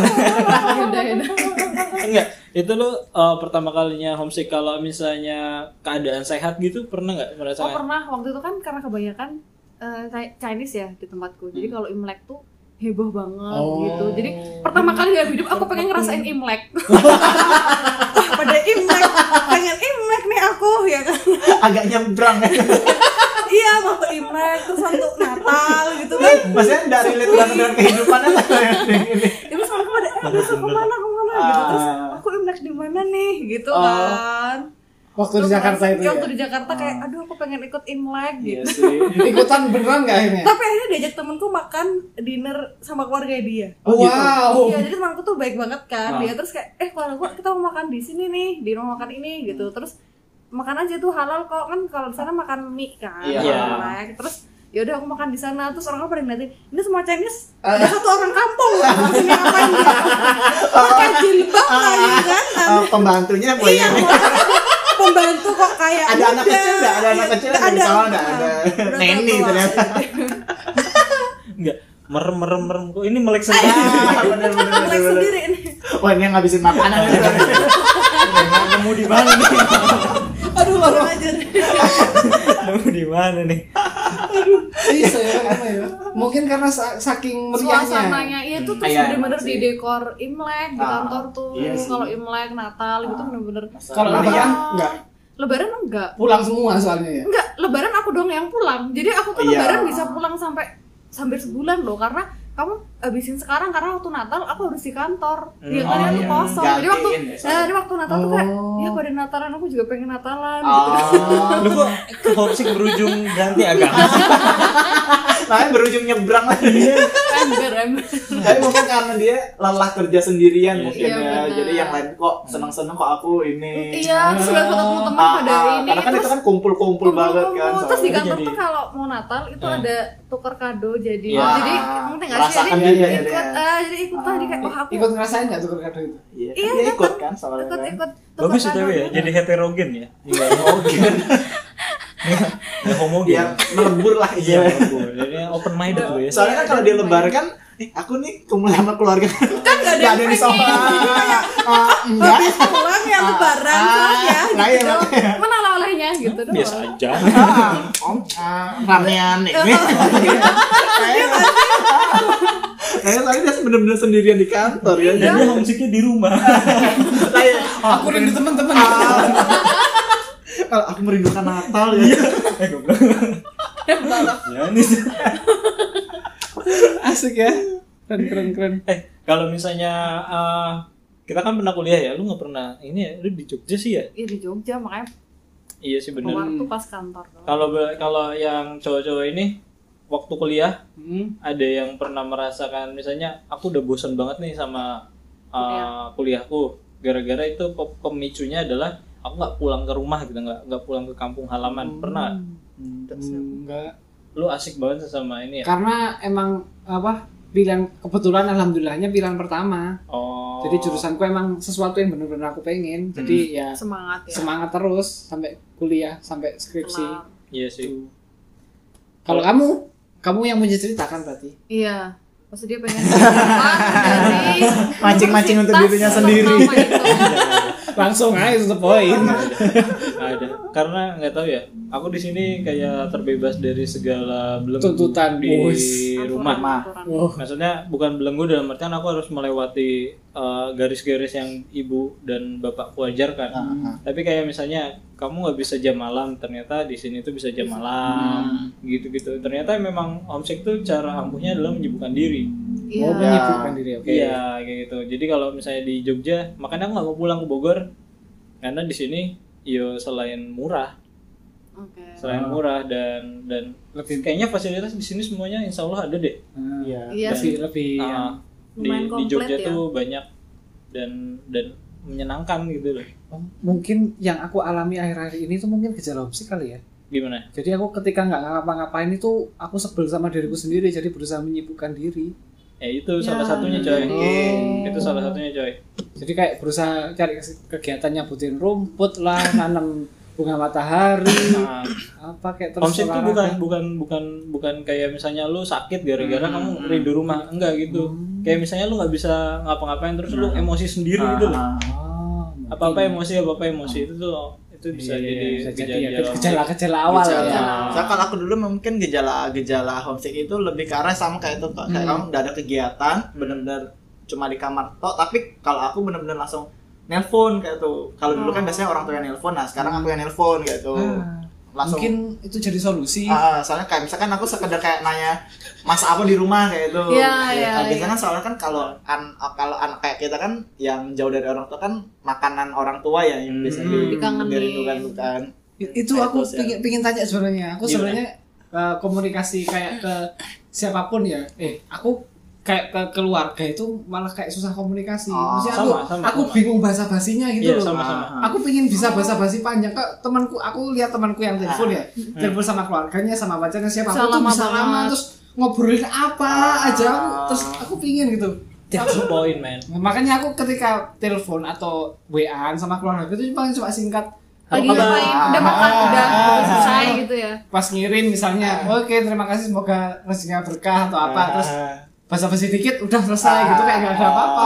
[SPEAKER 2] udah udah
[SPEAKER 1] Enggak, itu lu eh, pertama kalinya homesick kalau misalnya keadaan sehat gitu pernah nggak
[SPEAKER 2] oh
[SPEAKER 1] merasakan?
[SPEAKER 2] pernah waktu itu kan karena kebanyakan eh, Chi- Chinese ya di tempatku jadi kalau imlek tuh heboh banget
[SPEAKER 3] Oh.
[SPEAKER 2] gitu jadi pertama kali dalam hidup aku pengen ngerasain imlek
[SPEAKER 5] Wah, pada imlek. Pengen imlek nih aku, ya kan.
[SPEAKER 4] Agak nyebrang ya.
[SPEAKER 5] Iya, waktu imlek. Terus waktu Natal gitu kan.
[SPEAKER 4] Maksudnya dari relate banget
[SPEAKER 2] Iya.
[SPEAKER 4] dengan kehidupannya lah yang ini.
[SPEAKER 5] Ya terus aku pada, eh, terus aku mana, aku mana gitu. Terus
[SPEAKER 4] Ah.
[SPEAKER 5] aku imlek di mana nih, gitu
[SPEAKER 4] Oh.
[SPEAKER 5] kan.
[SPEAKER 3] waktu di Jakarta
[SPEAKER 2] ya
[SPEAKER 3] itu ya
[SPEAKER 2] waktu di Jakarta kayak aduh aku pengen ikut imlek gitu
[SPEAKER 4] Iya sih.
[SPEAKER 3] ikutan beneran nggak akhirnya
[SPEAKER 5] Tapi akhirnya diajak temenku makan dinner sama keluarga dia.
[SPEAKER 4] Oh.
[SPEAKER 3] wow
[SPEAKER 2] Iya, jadi temanku tuh baik banget
[SPEAKER 4] Ah.
[SPEAKER 2] kan. Dia terus kayak, "Eh, kalau gua kita mau makan di sini nih, di rumah makan ini." gitu.
[SPEAKER 4] Hmm.
[SPEAKER 2] Terus makan aja tuh halal kok. Kan kalau di sana makan mie kan.
[SPEAKER 4] Iya.
[SPEAKER 2] Imlek. Terus ya udah aku makan di sana. Terus orang pada ngeliatin, "Ini semua Chinese."
[SPEAKER 4] Ah.
[SPEAKER 5] Ada satu orang kampung lah, ini ngapain
[SPEAKER 2] gitu?"
[SPEAKER 5] dia?
[SPEAKER 4] Ah.
[SPEAKER 5] Pakai jilbab lagi kan?
[SPEAKER 4] Eh, pembantunya boleh
[SPEAKER 2] Iya,
[SPEAKER 5] Pembantu kok kayak
[SPEAKER 4] ada anak
[SPEAKER 5] muda.
[SPEAKER 4] kecil nggak ada anak
[SPEAKER 2] Iya,
[SPEAKER 4] kecil
[SPEAKER 5] Nggak
[SPEAKER 4] yang
[SPEAKER 5] ada.
[SPEAKER 4] tahu nggak ada
[SPEAKER 5] Udah
[SPEAKER 4] neni
[SPEAKER 5] tua-tua.
[SPEAKER 4] Nah, ternyata
[SPEAKER 1] Enggak, merem merem merem kok ini melek sendiri.
[SPEAKER 4] Ah, bener, bener,
[SPEAKER 5] Imlek
[SPEAKER 4] bener, bener.
[SPEAKER 5] sendiri ini.
[SPEAKER 4] oh ini yang ngabisin makanan
[SPEAKER 2] Iya.
[SPEAKER 1] nemu di mana nih
[SPEAKER 5] Aduh, kurang ajar.
[SPEAKER 1] nemu di mana nih
[SPEAKER 3] Bisa ya, kenapa ya? Mungkin karena sa- saking meriahnya.
[SPEAKER 2] suasananya iya itu tuh
[SPEAKER 4] Iya, emang
[SPEAKER 2] bener-bener di
[SPEAKER 4] sih.
[SPEAKER 2] dekor imlek di
[SPEAKER 4] Ah,
[SPEAKER 2] kantor tuh
[SPEAKER 4] iya sih. Ah.
[SPEAKER 2] kalau imlek natal gitu bener-bener
[SPEAKER 3] Kalau
[SPEAKER 2] Apa?
[SPEAKER 3] meriah enggak
[SPEAKER 2] lebaran enggak
[SPEAKER 3] pulang semua soalnya ya.
[SPEAKER 2] enggak lebaran aku doang yang pulang jadi aku tuh
[SPEAKER 4] Iya.
[SPEAKER 2] lebaran bisa pulang sampai sampai sebulan loh karena kamu habisin sekarang karena waktu Natal aku harus di kantor
[SPEAKER 1] Hmm.
[SPEAKER 2] yang lain
[SPEAKER 4] Oh,
[SPEAKER 2] aku
[SPEAKER 4] iya.
[SPEAKER 2] kosong jadi waktu
[SPEAKER 4] Gantiin ya, soalnya.
[SPEAKER 2] nah, jadi waktu Natal tuh kayak
[SPEAKER 3] Oh.
[SPEAKER 2] ya pada Natalan aku juga pengen Natalan gitu kan.
[SPEAKER 4] oh
[SPEAKER 1] lu kok toxic berujung ganti agama
[SPEAKER 4] nah berujung nyebrang lagi
[SPEAKER 2] gitu ember ember
[SPEAKER 4] tapi mungkin karena dia lelah kerja sendirian mungkin
[SPEAKER 2] Iya,
[SPEAKER 4] ya
[SPEAKER 2] benar.
[SPEAKER 4] jadi yang lain kok seneng seneng kok aku ini
[SPEAKER 2] iya terus udah ketemu teman
[SPEAKER 4] Ah,
[SPEAKER 2] pada
[SPEAKER 4] ah,
[SPEAKER 2] ini
[SPEAKER 4] karena kan itu
[SPEAKER 2] terus
[SPEAKER 4] kan kumpul-kumpul banget kan Iya.
[SPEAKER 2] kumpul-kumpul. terus di
[SPEAKER 1] Jadi
[SPEAKER 2] kantor tuh
[SPEAKER 1] jadi-
[SPEAKER 2] kalau mau Natal itu
[SPEAKER 1] Eh.
[SPEAKER 2] ada tukar kado jadi
[SPEAKER 1] Iya.
[SPEAKER 2] jadi ngerti nggak sih
[SPEAKER 4] Rasakan
[SPEAKER 2] jadi
[SPEAKER 4] dia,
[SPEAKER 2] ikut
[SPEAKER 4] iya, iya.
[SPEAKER 2] eh, jadi ikut tadi kayak wah aku
[SPEAKER 3] Ikut ngerasain enggak tuh kado itu?
[SPEAKER 4] Iya,
[SPEAKER 2] Iya,
[SPEAKER 4] kan dia
[SPEAKER 2] datang.
[SPEAKER 4] ikut kan soalnya
[SPEAKER 2] ikut
[SPEAKER 4] kan.
[SPEAKER 2] ikut tukar
[SPEAKER 1] bagus itu
[SPEAKER 2] kado.
[SPEAKER 1] ya jadi heterogen ya
[SPEAKER 4] Oke.
[SPEAKER 1] nggak homogen
[SPEAKER 4] Dia melebur lah
[SPEAKER 1] iya
[SPEAKER 4] iya.
[SPEAKER 1] bagus. jadi open minded lu ya
[SPEAKER 4] Soalnya kan
[SPEAKER 2] Iya,
[SPEAKER 4] kalau dia lebar kan, eh aku nih kumpul sama keluarga. Kan
[SPEAKER 2] nggak ada yang
[SPEAKER 4] di
[SPEAKER 2] pengen. Iya,
[SPEAKER 4] sofa. Ah, Enggak.
[SPEAKER 5] Habis pulang ya lebaran pulang ya.
[SPEAKER 4] Nah, iya makanya.
[SPEAKER 2] gitu mana oleh-olehnya gitu doang
[SPEAKER 1] Hmm, biasa aja
[SPEAKER 4] Ah, Om, ah, ramean
[SPEAKER 2] Iya,
[SPEAKER 4] ini. Kayaknya soalnya dia bener-bener sendirian di kantor
[SPEAKER 2] Iya.
[SPEAKER 4] ya.
[SPEAKER 1] dan dia homesicknya di rumah
[SPEAKER 4] Lah, ya, ah,
[SPEAKER 3] Aku rindu teman-teman.
[SPEAKER 4] Kalau aku merindukan Natal ya.
[SPEAKER 1] eh goblok ya nih
[SPEAKER 3] Asik ya. Keren keren keren.
[SPEAKER 1] Eh, kalau misalnya eh, kita kan pernah kuliah ya, lu nggak pernah ini ya, lu di Jogja sih ya?
[SPEAKER 2] Iya di Jogja makanya
[SPEAKER 1] Iya sih bener.
[SPEAKER 2] keluar tuh pas kantor doang.
[SPEAKER 1] Kalau be- kalau yang cowok-cowok ini waktu kuliah
[SPEAKER 3] Hmm.
[SPEAKER 1] ada yang pernah merasakan misalnya aku udah bosan banget nih sama eh,
[SPEAKER 2] Kuliah.
[SPEAKER 1] kuliahku gara-gara itu pe- pemicunya adalah aku nggak pulang ke rumah gitu nggak nggak pulang ke kampung
[SPEAKER 3] Hmm.
[SPEAKER 1] halaman pernah
[SPEAKER 3] Enggak.
[SPEAKER 1] lu asik banget sama ini ya
[SPEAKER 3] Karena emang apa? Pilihan kebetulan alhamdulillahnya pilihan pertama.
[SPEAKER 1] oh
[SPEAKER 3] Jadi jurusanku emang sesuatu yang bener-bener aku pengen. Jadi ya
[SPEAKER 2] semangat ya
[SPEAKER 3] semangat terus sampai kuliah, sampai skripsi.
[SPEAKER 2] Kelar.
[SPEAKER 1] iya sih
[SPEAKER 3] Tuh. Gitu. Kalau kamu, kamu yang mau ceritakan berarti.
[SPEAKER 2] iya maksudnya dia pengen keluar dari
[SPEAKER 4] Mancing-mancing untuk dirinya
[SPEAKER 2] universitas
[SPEAKER 4] sendiri.
[SPEAKER 2] pertama itu.
[SPEAKER 3] Langsung aja to the point.
[SPEAKER 1] Nggak ada karena nggak tahu ya aku di sini kayak terbebas dari segala belenggu
[SPEAKER 3] Tuntutan,
[SPEAKER 1] di
[SPEAKER 3] bos.
[SPEAKER 1] rumah
[SPEAKER 2] Aturan, aturan.
[SPEAKER 1] maksudnya bukan belenggu dalam artian aku harus melewati eh, garis-garis yang ibu dan bapakku ajarkan tapi kayak misalnya kamu nggak bisa jam malam ternyata di sini tuh bisa jam malam gitu-gitu ternyata memang homesick tuh cara ampuhnya adalah menyibukkan diri
[SPEAKER 2] iya
[SPEAKER 3] Mau menyibukkan diri, oke.
[SPEAKER 1] Iya kayak gitu. Jadi kalau misalnya di Jogja, makanya aku nggak mau pulang ke Bogor karena di sini yo selain murah,
[SPEAKER 2] oke
[SPEAKER 1] selain murah dan dan
[SPEAKER 3] Lebih- ah,
[SPEAKER 1] kayaknya fasilitas di sini semuanya insya Allah ada deh.
[SPEAKER 4] Iya.
[SPEAKER 2] iya
[SPEAKER 1] Dan-
[SPEAKER 2] sih
[SPEAKER 3] Lebih lebih yang
[SPEAKER 1] Ah, di,
[SPEAKER 2] Lumayan
[SPEAKER 1] di
[SPEAKER 2] komplit
[SPEAKER 1] Jogja
[SPEAKER 2] ya.
[SPEAKER 1] tuh banyak dan dan menyenangkan gitu loh.
[SPEAKER 3] mungkin yang aku alami akhir-akhir ini tuh mungkin gejala homesick kali ya.
[SPEAKER 1] Gimana?
[SPEAKER 3] Jadi aku ketika nggak ngapa-ngapain itu aku sebel sama diriku sendiri jadi berusaha menyibukkan diri.
[SPEAKER 1] Ya itu
[SPEAKER 2] Ya,
[SPEAKER 1] salah satunya coy.
[SPEAKER 2] oke.
[SPEAKER 1] Itu salah satunya coy.
[SPEAKER 3] Jadi kayak berusaha cari kes- kegiatan nyabutin rumput lah, nanam bunga matahari,
[SPEAKER 1] Nah,
[SPEAKER 3] apa kayak terus
[SPEAKER 1] homesick tuh
[SPEAKER 3] olahraga.
[SPEAKER 1] bukan bukan bukan bukan kayak misalnya lu sakit gara-gara
[SPEAKER 4] Hmm,
[SPEAKER 1] kamu
[SPEAKER 4] hmm.
[SPEAKER 1] rindu rumah, enggak gitu. Kayak misalnya lu nggak bisa ngapa-ngapain terus lu emosi
[SPEAKER 4] Iya,
[SPEAKER 1] sendiri gitu loh.
[SPEAKER 3] Ah,
[SPEAKER 1] apa apa emosi apa apa emosi itu tuh itu Iya,
[SPEAKER 3] Iya,
[SPEAKER 1] bisa jadi kejadian
[SPEAKER 3] gejala gejala awal
[SPEAKER 4] gejala.
[SPEAKER 3] ya.
[SPEAKER 4] Soalnya kalau aku dulu mungkin gejala-gejala homesick itu lebih ke arah sama kayak itu kok. Kayak
[SPEAKER 3] Hmm.
[SPEAKER 4] kamu udah ada kegiatan, bener-bener cuma di kamar tok. Tapi kalau aku bener-bener langsung nelpon kayak itu. Kalau dulu
[SPEAKER 3] Hmm.
[SPEAKER 4] kan biasanya orang tua yang nelpon, nah sekarang aku yang nelpon kayak itu. Langsung
[SPEAKER 3] Mungkin itu jadi solusi.
[SPEAKER 4] Ah, ah, soalnya kayak misalkan aku sekedar kayak nanya mas apa di rumah kayak itu
[SPEAKER 2] Iya, iya,
[SPEAKER 4] Ah, biasanya kan soalnya kan kalau an kalau anak kayak kita kan yang jauh dari orang tua kan makanan orang tua ya yang biasanya
[SPEAKER 1] Hmm.
[SPEAKER 4] di-
[SPEAKER 2] Dikangenin.
[SPEAKER 4] dirindukan kan
[SPEAKER 3] I- itu aku
[SPEAKER 4] Etos ya.
[SPEAKER 3] pingin, pingin tanya sebenarnya. Aku
[SPEAKER 1] Gimana?
[SPEAKER 3] sebenarnya eh, komunikasi kayak ke siapapun ya. Eh, aku kayak ke keluarga itu malah kayak susah komunikasi.
[SPEAKER 4] Oh,
[SPEAKER 3] Maksudnya
[SPEAKER 1] Ah,
[SPEAKER 3] aku,
[SPEAKER 1] sama, sama,
[SPEAKER 3] aku
[SPEAKER 1] sama.
[SPEAKER 3] bingung bahasa basinya gitu
[SPEAKER 1] Iya,
[SPEAKER 3] loh.
[SPEAKER 1] sama, sama.
[SPEAKER 3] Aku pingin bisa bahasa basi panjang. Kak, temanku, aku lihat temanku yang telepon
[SPEAKER 1] Ah.
[SPEAKER 3] ya, telepon sama keluarganya, sama pacarnya siapa
[SPEAKER 2] Bisa
[SPEAKER 3] aku tuh
[SPEAKER 2] lama
[SPEAKER 3] bisa lama
[SPEAKER 2] banget.
[SPEAKER 3] terus ngobrolin apa aja aku terus
[SPEAKER 1] Ah.
[SPEAKER 3] aku pingin gitu.
[SPEAKER 1] that's the point man
[SPEAKER 3] Nah, makanya aku ketika telepon atau WA sama keluarga itu paling cuma singkat
[SPEAKER 2] lagi
[SPEAKER 3] "Apa kabar?"
[SPEAKER 2] ngapain udah makan
[SPEAKER 3] Ah,
[SPEAKER 2] udah udah
[SPEAKER 3] ah, ah.
[SPEAKER 2] selesai gitu ya
[SPEAKER 3] pas ngirim misalnya
[SPEAKER 4] Ah.
[SPEAKER 3] oke terima kasih semoga
[SPEAKER 4] Ah.
[SPEAKER 3] rezekinya berkah atau apa terus basa basi dikit udah selesai gitu kayak nggak ada apa-apa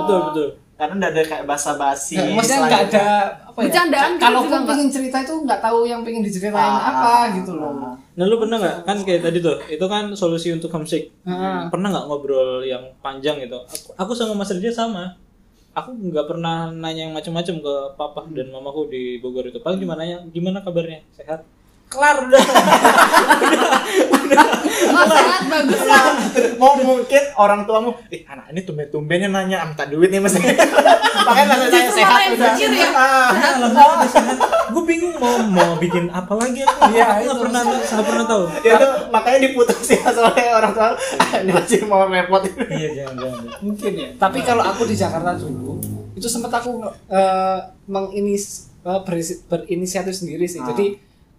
[SPEAKER 1] betul betul
[SPEAKER 4] karena udah ada kayak basa-basi
[SPEAKER 3] Nggak, maksudnya nggak
[SPEAKER 4] selain-
[SPEAKER 3] ada apa ya?
[SPEAKER 2] Bercandaan
[SPEAKER 3] ca-
[SPEAKER 2] gitu
[SPEAKER 3] Kalau
[SPEAKER 2] juga
[SPEAKER 3] pun
[SPEAKER 2] nggak.
[SPEAKER 3] pengen cerita itu nggak tahu yang pengen diceritain
[SPEAKER 4] Ah,
[SPEAKER 3] apa
[SPEAKER 4] ah,
[SPEAKER 3] gitu loh.
[SPEAKER 1] nah lu pernah nggak kan kayak tadi tuh itu kan solusi untuk homesick
[SPEAKER 3] Heeh.
[SPEAKER 1] pernah nggak ngobrol yang panjang gitu aku, aku sama mas Rija sama aku nggak pernah nanya yang macam-macam ke papa dan mamaku di Bogor itu paling cuma nanya gimana kabarnya sehat kelar udah
[SPEAKER 2] Oh, sehat bagus lah.
[SPEAKER 4] mau mungkin orang tuamu eh anak ini tumben-tumbennya nanya ah, minta duit nih mas makanya nanya saya
[SPEAKER 2] Justru
[SPEAKER 4] sehat
[SPEAKER 2] malah yang
[SPEAKER 4] udah
[SPEAKER 2] mikir ya.
[SPEAKER 4] Ah.
[SPEAKER 1] Iya, Oh. gue bingung mau mau bikin apa lagi aku
[SPEAKER 3] Iya,
[SPEAKER 1] aku nggak
[SPEAKER 3] itu
[SPEAKER 1] pernah nggak pernah tahu
[SPEAKER 4] ya itu makanya diputus ya soalnya orang tua "Ah, ini masih mau repot
[SPEAKER 1] iya jangan jangan
[SPEAKER 3] Mungkin ya. Tapi kalau aku di Jakarta dulu itu sempat aku eh, menginis eh, berisi- berinisiatif sendiri sih.
[SPEAKER 4] Ah.
[SPEAKER 3] Jadi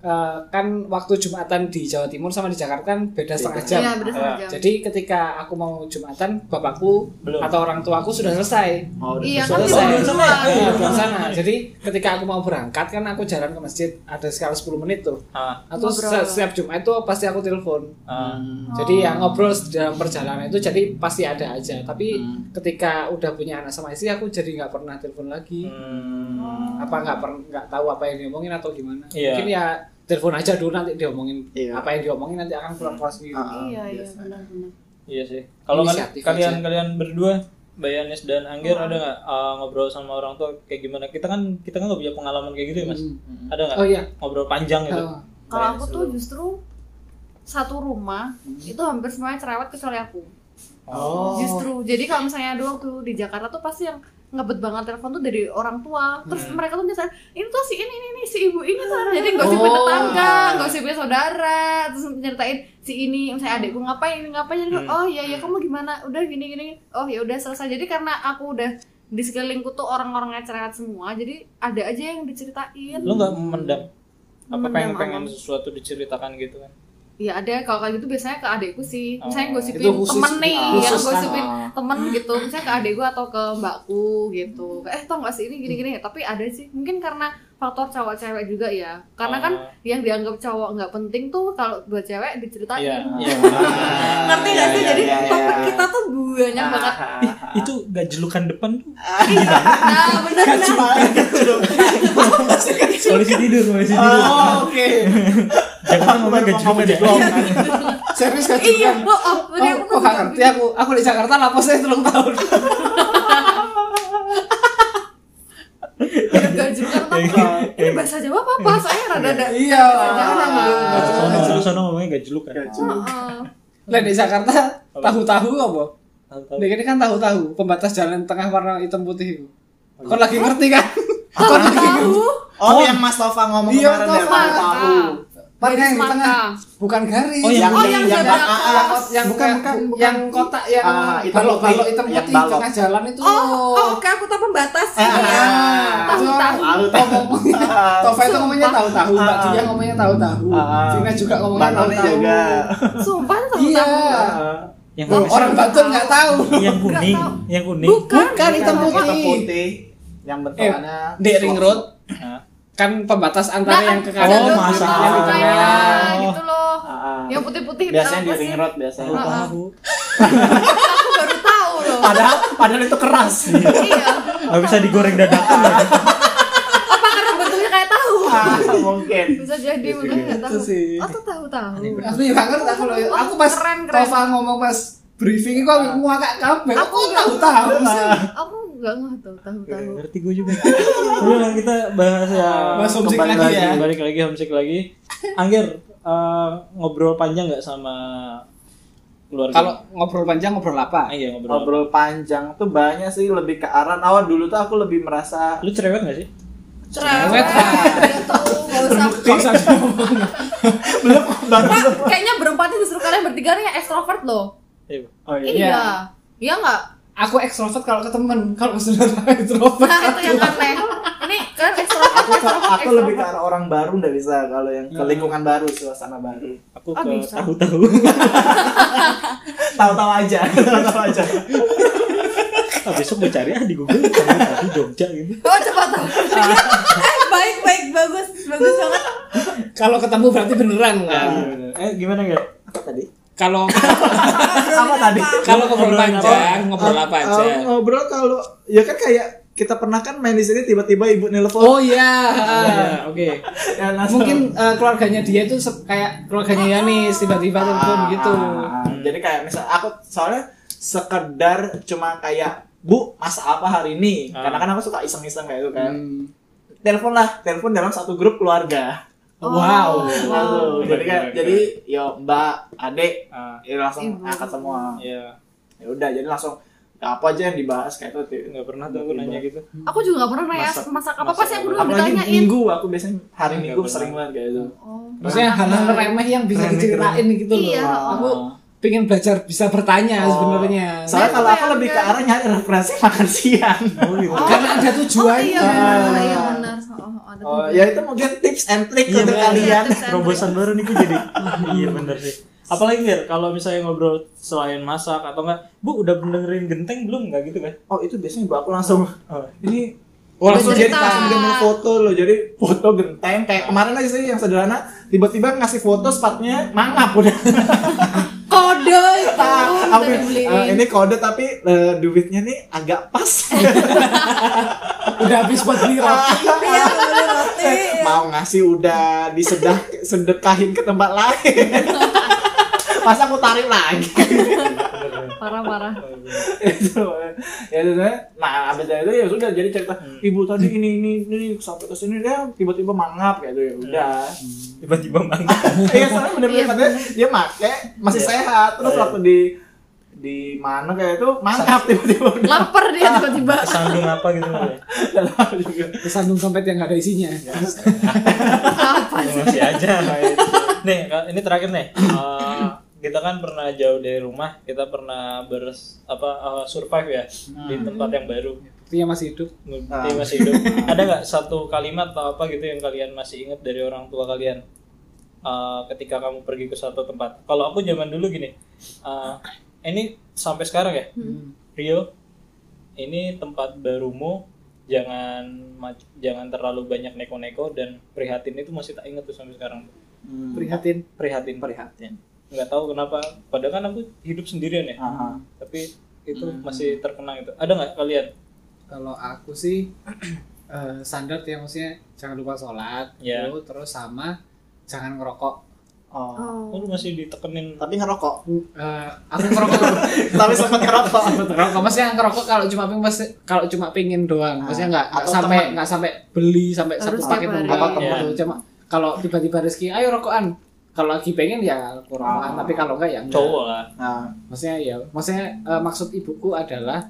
[SPEAKER 3] eh, kan waktu Jumatan di Jawa Timur sama di Jakarta kan beda setengah jam.
[SPEAKER 2] Iya, beda setengah
[SPEAKER 3] Eh,
[SPEAKER 2] jam.
[SPEAKER 3] Jadi ketika aku mau Jumatan, bapakku
[SPEAKER 1] Belum.
[SPEAKER 3] atau orang tuaku sudah selesai.
[SPEAKER 4] oh,
[SPEAKER 2] Iya kan
[SPEAKER 3] Selesai.
[SPEAKER 2] tidur di rumah.
[SPEAKER 1] Selesai.
[SPEAKER 3] Iya,
[SPEAKER 1] Iya.
[SPEAKER 3] sana. Jadi ketika aku mau berangkat kan aku jalan ke masjid ada sekitar 10 menit tuh.
[SPEAKER 1] ah
[SPEAKER 3] Atau
[SPEAKER 2] Ngobrol.
[SPEAKER 3] se- setiap Jumat itu pasti aku telepon.
[SPEAKER 1] ah
[SPEAKER 3] Jadi ya ngobrol dalam perjalanan itu jadi pasti ada aja. Tapi ketika udah punya anak sama istri aku jadi nggak pernah telepon lagi.
[SPEAKER 1] Hmm.
[SPEAKER 3] Apa nggak per- nggak tahu apa yang diomongin atau gimana?
[SPEAKER 1] Iya.
[SPEAKER 3] Mungkin ya telepon aja dulu nanti diomongin
[SPEAKER 4] Iya.
[SPEAKER 3] apa yang diomongin nanti akan keluar keluar sendiri.
[SPEAKER 4] Ah.
[SPEAKER 2] Iya, iya, benar-benar.
[SPEAKER 1] Iya sih. Kalau kalian
[SPEAKER 3] Inisiatif
[SPEAKER 1] kalian,
[SPEAKER 3] aja.
[SPEAKER 1] kalian berdua, Bayanes dan Angger ada nggak uh, ngobrol sama orang tua kayak gimana? Kita kan kita kan nggak punya pengalaman kayak gitu ya mas.
[SPEAKER 3] Hmm.
[SPEAKER 1] Ada nggak
[SPEAKER 3] Oh iya.
[SPEAKER 1] ngobrol panjang gitu?
[SPEAKER 3] Oh.
[SPEAKER 2] Kalau
[SPEAKER 1] Bayanes
[SPEAKER 2] aku tuh
[SPEAKER 1] dulu.
[SPEAKER 2] justru satu rumah itu hampir semuanya cerewet kecuali aku.
[SPEAKER 4] oh.
[SPEAKER 2] Justru. Jadi kalau misalnya dulu waktu di Jakarta tuh pasti yang ngebet banget telepon tuh dari orang tua. Terus
[SPEAKER 1] Hmm.
[SPEAKER 2] mereka tuh biasa ini tuh si ini ini, ini si ibu ini tuh. Jadi gosipin
[SPEAKER 3] Oh.
[SPEAKER 2] tetangga, gosipin saudara, terus nyeritain si ini misalnya adikku ngapain ini ngapain jadi
[SPEAKER 1] Hmm.
[SPEAKER 2] oh iya iya kamu gimana? Udah gini gini. Oh ya udah selesai. Jadi karena aku udah di sekelilingku tuh orang-orangnya cerewet semua. Jadi ada aja yang diceritain. Hmm,
[SPEAKER 1] Lo nggak memendam? Apa
[SPEAKER 2] Memendam
[SPEAKER 1] pengen pengen
[SPEAKER 2] apa?
[SPEAKER 1] sesuatu diceritakan gitu kan?
[SPEAKER 2] Iya ada kalau kayak gitu biasanya ke adekku sih. Misalnya
[SPEAKER 1] Oh,
[SPEAKER 2] gosipin
[SPEAKER 3] itu khusus-
[SPEAKER 2] temen nih,
[SPEAKER 3] ah,
[SPEAKER 2] yang
[SPEAKER 3] khusus kan,
[SPEAKER 2] gosipin
[SPEAKER 4] ah.
[SPEAKER 2] temen gitu. Misalnya ke adekku atau ke mbakku gitu. Eh tau gak sih ini gini-gini. Tapi ada sih. Mungkin karena faktor cowok-cewek juga ya. Karena kan
[SPEAKER 1] Ah.
[SPEAKER 2] yang dianggap cowok nggak penting tuh kalau buat cewek diceritain.
[SPEAKER 1] Iya. Iya.
[SPEAKER 2] Ngerti
[SPEAKER 4] Iya,
[SPEAKER 2] gak sih?
[SPEAKER 4] Ah, iya,
[SPEAKER 2] Jadi
[SPEAKER 4] iya, Ah, iya.
[SPEAKER 2] topik kita tuh banyak banget. Iya.
[SPEAKER 1] Ih, itu gak jelukan depan tuh.
[SPEAKER 2] Nah bener-bener.
[SPEAKER 1] Polisi tidur, polisi tidur.
[SPEAKER 4] Oh, oke
[SPEAKER 1] Jangan
[SPEAKER 4] Aku
[SPEAKER 1] ngomong
[SPEAKER 4] baru
[SPEAKER 1] gak ya. jelukan
[SPEAKER 4] mau ngomong
[SPEAKER 1] depan.
[SPEAKER 3] Serius gak
[SPEAKER 2] Iya,
[SPEAKER 3] juga?
[SPEAKER 2] oh, oh,
[SPEAKER 3] Oh,
[SPEAKER 2] jadi aku
[SPEAKER 3] kok
[SPEAKER 2] tuh
[SPEAKER 3] nggak ngerti aku. Aku di Jakarta laposnya telung tahun.
[SPEAKER 2] gak juga Ini bahasa Jawa apa? Bahasanya rada-rada.
[SPEAKER 3] Iya.
[SPEAKER 2] Jangan, Mas.
[SPEAKER 1] Sono, sono, sono ngomongnya gak kan? jelukan.
[SPEAKER 2] Heeh.
[SPEAKER 3] Lah di Jakarta tahu-tahu apa?
[SPEAKER 1] Tahu-tahu.
[SPEAKER 3] Ini kan tahu-tahu pembatas jalan tengah warna hitam putih itu.
[SPEAKER 4] iya.
[SPEAKER 3] Kau lagi ngerti kan? Kau lagi ngerti.
[SPEAKER 2] Tahu.
[SPEAKER 4] oh yang mas Tova ngomong
[SPEAKER 3] Iya,
[SPEAKER 4] kemarin
[SPEAKER 3] Mas
[SPEAKER 4] ya
[SPEAKER 3] Tova.
[SPEAKER 4] tahu
[SPEAKER 3] Warna yang di
[SPEAKER 2] Garis
[SPEAKER 3] tengah
[SPEAKER 2] mata.
[SPEAKER 3] bukan garis.
[SPEAKER 1] Oh, yang-
[SPEAKER 2] Oh, yang
[SPEAKER 4] ah,
[SPEAKER 2] zebra
[SPEAKER 4] ah, ah,
[SPEAKER 3] kot- yang
[SPEAKER 4] bukan bukan
[SPEAKER 3] bu-
[SPEAKER 4] bukan.
[SPEAKER 3] yang kotak yang
[SPEAKER 4] Ah, hitam
[SPEAKER 3] balok balok
[SPEAKER 4] putih.
[SPEAKER 3] hitam
[SPEAKER 4] Yang
[SPEAKER 3] putih
[SPEAKER 4] balok.
[SPEAKER 3] tengah jalan itu.
[SPEAKER 2] Oh, oh, oke aku tahu pembatas
[SPEAKER 4] Ah,
[SPEAKER 2] ya.
[SPEAKER 3] Ah,
[SPEAKER 2] Tahu,
[SPEAKER 3] itu
[SPEAKER 2] tahu.
[SPEAKER 4] Lalu
[SPEAKER 3] Tova ngomongnya-
[SPEAKER 4] Ah.
[SPEAKER 3] Tova itu ngomongnya tahu-tahu, Mbak
[SPEAKER 4] Ah.
[SPEAKER 3] Dia ngomongnya tahu-tahu,
[SPEAKER 4] Ah.
[SPEAKER 3] Vina juga ngomongnya
[SPEAKER 4] Batangnya
[SPEAKER 3] tahu-tahu.
[SPEAKER 4] juga
[SPEAKER 2] Sumpah tahu
[SPEAKER 3] Iya.
[SPEAKER 1] Yang
[SPEAKER 3] Loh,
[SPEAKER 1] kuning,
[SPEAKER 3] Orang Banten nggak tahu.
[SPEAKER 1] yang kuning,
[SPEAKER 2] tahu.
[SPEAKER 1] yang kuning.
[SPEAKER 2] Bukan.
[SPEAKER 3] Bukan, hitam
[SPEAKER 2] Bukan.
[SPEAKER 4] hitam
[SPEAKER 3] putih.
[SPEAKER 4] putih yang bentukannya
[SPEAKER 3] Di ring road
[SPEAKER 1] Hah?
[SPEAKER 3] kan pembatas antara
[SPEAKER 2] Nah,
[SPEAKER 3] yang Iya. ke
[SPEAKER 2] ada
[SPEAKER 3] kanan
[SPEAKER 1] Oh,
[SPEAKER 2] logo
[SPEAKER 1] masa.
[SPEAKER 2] gitu,
[SPEAKER 3] yang di
[SPEAKER 2] kayaknya,
[SPEAKER 3] tengah.
[SPEAKER 2] gitu loh.
[SPEAKER 4] Ah, ah.
[SPEAKER 2] Yang putih-putih
[SPEAKER 4] biasanya
[SPEAKER 2] apa
[SPEAKER 4] di
[SPEAKER 2] sih?
[SPEAKER 4] ring road biasanya
[SPEAKER 2] Ah, ah.
[SPEAKER 1] Tahu.
[SPEAKER 2] Aku baru tahu loh.
[SPEAKER 4] padahal padahal itu keras
[SPEAKER 2] Iya.
[SPEAKER 1] Gak bisa digoreng dadakan. lagi.
[SPEAKER 2] Apa karena bentuknya kayak tahu?
[SPEAKER 4] Ah, mungkin
[SPEAKER 2] Bisa jadi mungkin nggak tahu.
[SPEAKER 3] Itu sih.
[SPEAKER 2] Atau tahu-tahu.
[SPEAKER 3] aku juga nggak ngerti aku loh
[SPEAKER 2] Wah,
[SPEAKER 3] aku pas
[SPEAKER 2] keren, keren.
[SPEAKER 3] Tova ngomong pas briefing itu aku ngakak kabel aku tahu tahu sih
[SPEAKER 2] Aku nggak ngerti tahu tahu-tahu.
[SPEAKER 1] ngerti gue juga udah lah kita bahas ya
[SPEAKER 3] Bahas homesick
[SPEAKER 1] kembali
[SPEAKER 3] lagi ya.
[SPEAKER 1] balik lagi homesick lagi Angger eh, ngobrol panjang nggak sama keluarga
[SPEAKER 3] kalau ngobrol panjang ngobrol
[SPEAKER 1] Ah,
[SPEAKER 2] Nah,
[SPEAKER 3] apa
[SPEAKER 1] iya ngobrol
[SPEAKER 4] ngobrol panjang tuh banyak sih lebih ke arah nah, awal dulu tuh aku lebih merasa
[SPEAKER 1] lu cerewet nggak sih
[SPEAKER 2] Cerewet.
[SPEAKER 3] lah.
[SPEAKER 2] Udah tahu nggak usah.
[SPEAKER 4] belum
[SPEAKER 2] Pak, kayaknya berempatnya justru kalian bertiga nih yang ekstrovert loh.
[SPEAKER 1] Iya.
[SPEAKER 4] oh iya
[SPEAKER 3] Iya.
[SPEAKER 2] Iya. Iya nggak?
[SPEAKER 3] aku ekstrovert kalau ke temen kalau saudara introvert
[SPEAKER 2] Nah itu yang aneh. Ini kan ekstrovert,
[SPEAKER 4] aku ke-
[SPEAKER 2] ekstrovert,
[SPEAKER 4] aku lebih ke
[SPEAKER 2] ekstrovert.
[SPEAKER 4] arah orang baru nggak bisa kalau yang ke lingkungan baru suasana baru
[SPEAKER 1] aku
[SPEAKER 2] Ah,
[SPEAKER 1] ke
[SPEAKER 2] bisa.
[SPEAKER 1] tahu-tahu
[SPEAKER 4] tahu-tahu aja tahu-tahu aja
[SPEAKER 1] Ah, besok gue cari ah di Google tahu-tahu Jogja gitu
[SPEAKER 2] Oh cepat tahu. Eh, baik baik bagus bagus banget.
[SPEAKER 3] kalau ketemu berarti beneran kan
[SPEAKER 1] eh gimana Angger
[SPEAKER 4] apa tadi
[SPEAKER 3] kalau
[SPEAKER 4] apa tadi
[SPEAKER 3] kalau ngobrol Oh,
[SPEAKER 1] Ngobrolan apa?
[SPEAKER 3] panjang ngobrol apa
[SPEAKER 4] Ah,
[SPEAKER 3] aja
[SPEAKER 4] ah, ngobrol kalau ya kan kayak kita pernah kan main di sini tiba-tiba ibu nelpon
[SPEAKER 3] oh iya
[SPEAKER 1] Iya, oke.
[SPEAKER 4] Ya, langsung.
[SPEAKER 3] mungkin eh, keluarganya dia tuh se- kayak keluarganya Yanis tiba-tiba telepon
[SPEAKER 4] Ah,
[SPEAKER 3] gitu
[SPEAKER 4] ah, jadi kayak misal aku soalnya sekedar cuma kayak bu masak apa hari ini
[SPEAKER 1] Ah.
[SPEAKER 4] karena kan aku suka iseng-iseng kayak itu kan
[SPEAKER 3] Hmm.
[SPEAKER 4] telepon lah telepon dalam satu grup keluarga
[SPEAKER 3] Oh. wow Oh,
[SPEAKER 1] Keren,
[SPEAKER 4] Waduh, jadi kan
[SPEAKER 1] keren,
[SPEAKER 4] jadi yo mbak adik
[SPEAKER 1] Ah,
[SPEAKER 4] ya langsung
[SPEAKER 2] Ibu.
[SPEAKER 4] angkat semua
[SPEAKER 1] ya
[SPEAKER 4] ya udah jadi langsung "Ya, apa aja yang dibahas kayak itu
[SPEAKER 1] nggak pernah tuh aku nanya gitu.
[SPEAKER 2] aku juga gak pernah nanya
[SPEAKER 4] Masak-
[SPEAKER 2] masak apa apa sih aku dulu
[SPEAKER 1] masak-
[SPEAKER 4] apalagi
[SPEAKER 2] ditanyain
[SPEAKER 4] minggu aku biasanya hari
[SPEAKER 1] Nggak
[SPEAKER 4] minggu
[SPEAKER 1] pernah.
[SPEAKER 4] sering banget kayak gitu. itu
[SPEAKER 2] oh
[SPEAKER 3] maksudnya hal-hal remeh yang bisa
[SPEAKER 4] Remeh,
[SPEAKER 3] diceritain gitu loh
[SPEAKER 2] Iya.
[SPEAKER 3] aku
[SPEAKER 4] Ah.
[SPEAKER 3] pengen belajar bisa bertanya
[SPEAKER 4] Oh.
[SPEAKER 3] sebenarnya
[SPEAKER 4] soalnya
[SPEAKER 2] Nah,
[SPEAKER 4] kalau
[SPEAKER 2] itu
[SPEAKER 4] aku
[SPEAKER 2] yang
[SPEAKER 4] lebih ke
[SPEAKER 2] enggak.
[SPEAKER 4] arah nyari referensi makan siang oh, gitu.
[SPEAKER 2] Oh.
[SPEAKER 3] karena ada
[SPEAKER 2] oh
[SPEAKER 3] tujuan
[SPEAKER 2] iya
[SPEAKER 4] Ah.
[SPEAKER 2] benar iya benar oh, ada
[SPEAKER 4] Oh,
[SPEAKER 2] tujuan.
[SPEAKER 4] ya itu mungkin tips and trick
[SPEAKER 1] Iya,
[SPEAKER 4] untuk
[SPEAKER 1] benar.
[SPEAKER 4] kalian.
[SPEAKER 2] Tips and
[SPEAKER 1] Terobosan baru nih gue jadi. iya bener sih. Apalagi Fir, kalau misalnya ngobrol selain masak atau enggak, Bu udah dengerin genteng belum enggak gitu kan?
[SPEAKER 4] Oh, itu biasanya gua aku langsung
[SPEAKER 1] Oh.
[SPEAKER 4] ini Oh, langsung jadi
[SPEAKER 2] Bercerita.
[SPEAKER 4] langsung dia mau foto loh. Jadi foto genteng kayak kemarin aja sih yang sederhana tiba-tiba ngasih foto sepatunya mangap udah.
[SPEAKER 2] kode itu udah
[SPEAKER 4] Aku bilang, "Eh,
[SPEAKER 2] dibeliin
[SPEAKER 4] ini kode tapi eh, duitnya nih agak pas.
[SPEAKER 3] udah habis buat beli roti
[SPEAKER 5] Iya, boleh roti.
[SPEAKER 4] mau ngasih udah disedah sedekahin ke tempat lain. Pas aku tarik lagi.
[SPEAKER 2] parah parah
[SPEAKER 4] itu ya sebenarnya nah abis dari itu ya sudah jadi cerita ibu tadi ini ini ini sampai ke sini dia tiba-tiba mangap kayak gitu ya udah
[SPEAKER 1] Tiba-tiba mangga.
[SPEAKER 4] iya soalnya bener-bener
[SPEAKER 2] Iya,
[SPEAKER 4] katanya dia pakai masih
[SPEAKER 1] Iya.
[SPEAKER 4] sehat terus
[SPEAKER 1] Iya.
[SPEAKER 4] waktu di di mana kayak itu mangap tiba-tiba udah
[SPEAKER 2] lapar dia tiba-tiba
[SPEAKER 1] Kesandung apa gitu Mbak, ya?
[SPEAKER 4] udah lama juga
[SPEAKER 3] kesandung sampai yang gak ada isinya
[SPEAKER 4] Iya.
[SPEAKER 2] apa
[SPEAKER 1] Ya, masih aja nih Kak, ini terakhir nih Eh, kita kan pernah jauh dari rumah kita pernah bers apa eh, survive ya di
[SPEAKER 4] Hmm.
[SPEAKER 1] tempat yang baru
[SPEAKER 3] buktinya masih hidup
[SPEAKER 1] Bukti masih hidup Ah. ada nggak satu kalimat atau apa gitu yang kalian masih ingat dari orang tua kalian Eh, ketika kamu pergi ke suatu tempat kalau aku zaman dulu gini eh, ini sampai sekarang ya
[SPEAKER 2] Hmm.
[SPEAKER 1] Rio ini tempat barumu jangan mac- jangan terlalu banyak neko-neko dan prihatin itu masih tak ingat tuh sampai sekarang
[SPEAKER 4] Hmm.
[SPEAKER 3] prihatin
[SPEAKER 1] prihatin
[SPEAKER 4] prihatin
[SPEAKER 1] nggak tahu kenapa padahal kan aku hidup sendirian ya
[SPEAKER 4] Aha.
[SPEAKER 1] tapi itu masih terkenang itu ada nggak kalian
[SPEAKER 3] kalau aku sih eh, standar ya maksudnya jangan lupa sholat
[SPEAKER 1] Iya.
[SPEAKER 3] dulu, terus sama jangan ngerokok
[SPEAKER 4] oh.
[SPEAKER 1] oh,
[SPEAKER 2] oh
[SPEAKER 1] lu masih ditekenin
[SPEAKER 4] tapi ngerokok
[SPEAKER 3] Eh, aku ngerokok
[SPEAKER 4] tapi sempat ngerokok
[SPEAKER 3] ngerokok maksudnya ngerokok kalau cuma pengen pasti- kalau cuma pengen doang maksudnya nggak nggak
[SPEAKER 4] Atau
[SPEAKER 3] sampai
[SPEAKER 4] teman.
[SPEAKER 3] nggak sampai beli sampai
[SPEAKER 2] Harus
[SPEAKER 3] satu paket
[SPEAKER 2] tiap hari.
[SPEAKER 3] enggak
[SPEAKER 4] Apa
[SPEAKER 1] teman.
[SPEAKER 3] gitu. cuma kalau tiba-tiba rezeki ayo rokokan kalau lagi pengen ya aku rokokan
[SPEAKER 4] Ah.
[SPEAKER 3] tapi kalau nggak ya enggak.
[SPEAKER 1] cowok lah
[SPEAKER 4] nah
[SPEAKER 3] maksudnya ya maksudnya eh, maksud ibuku adalah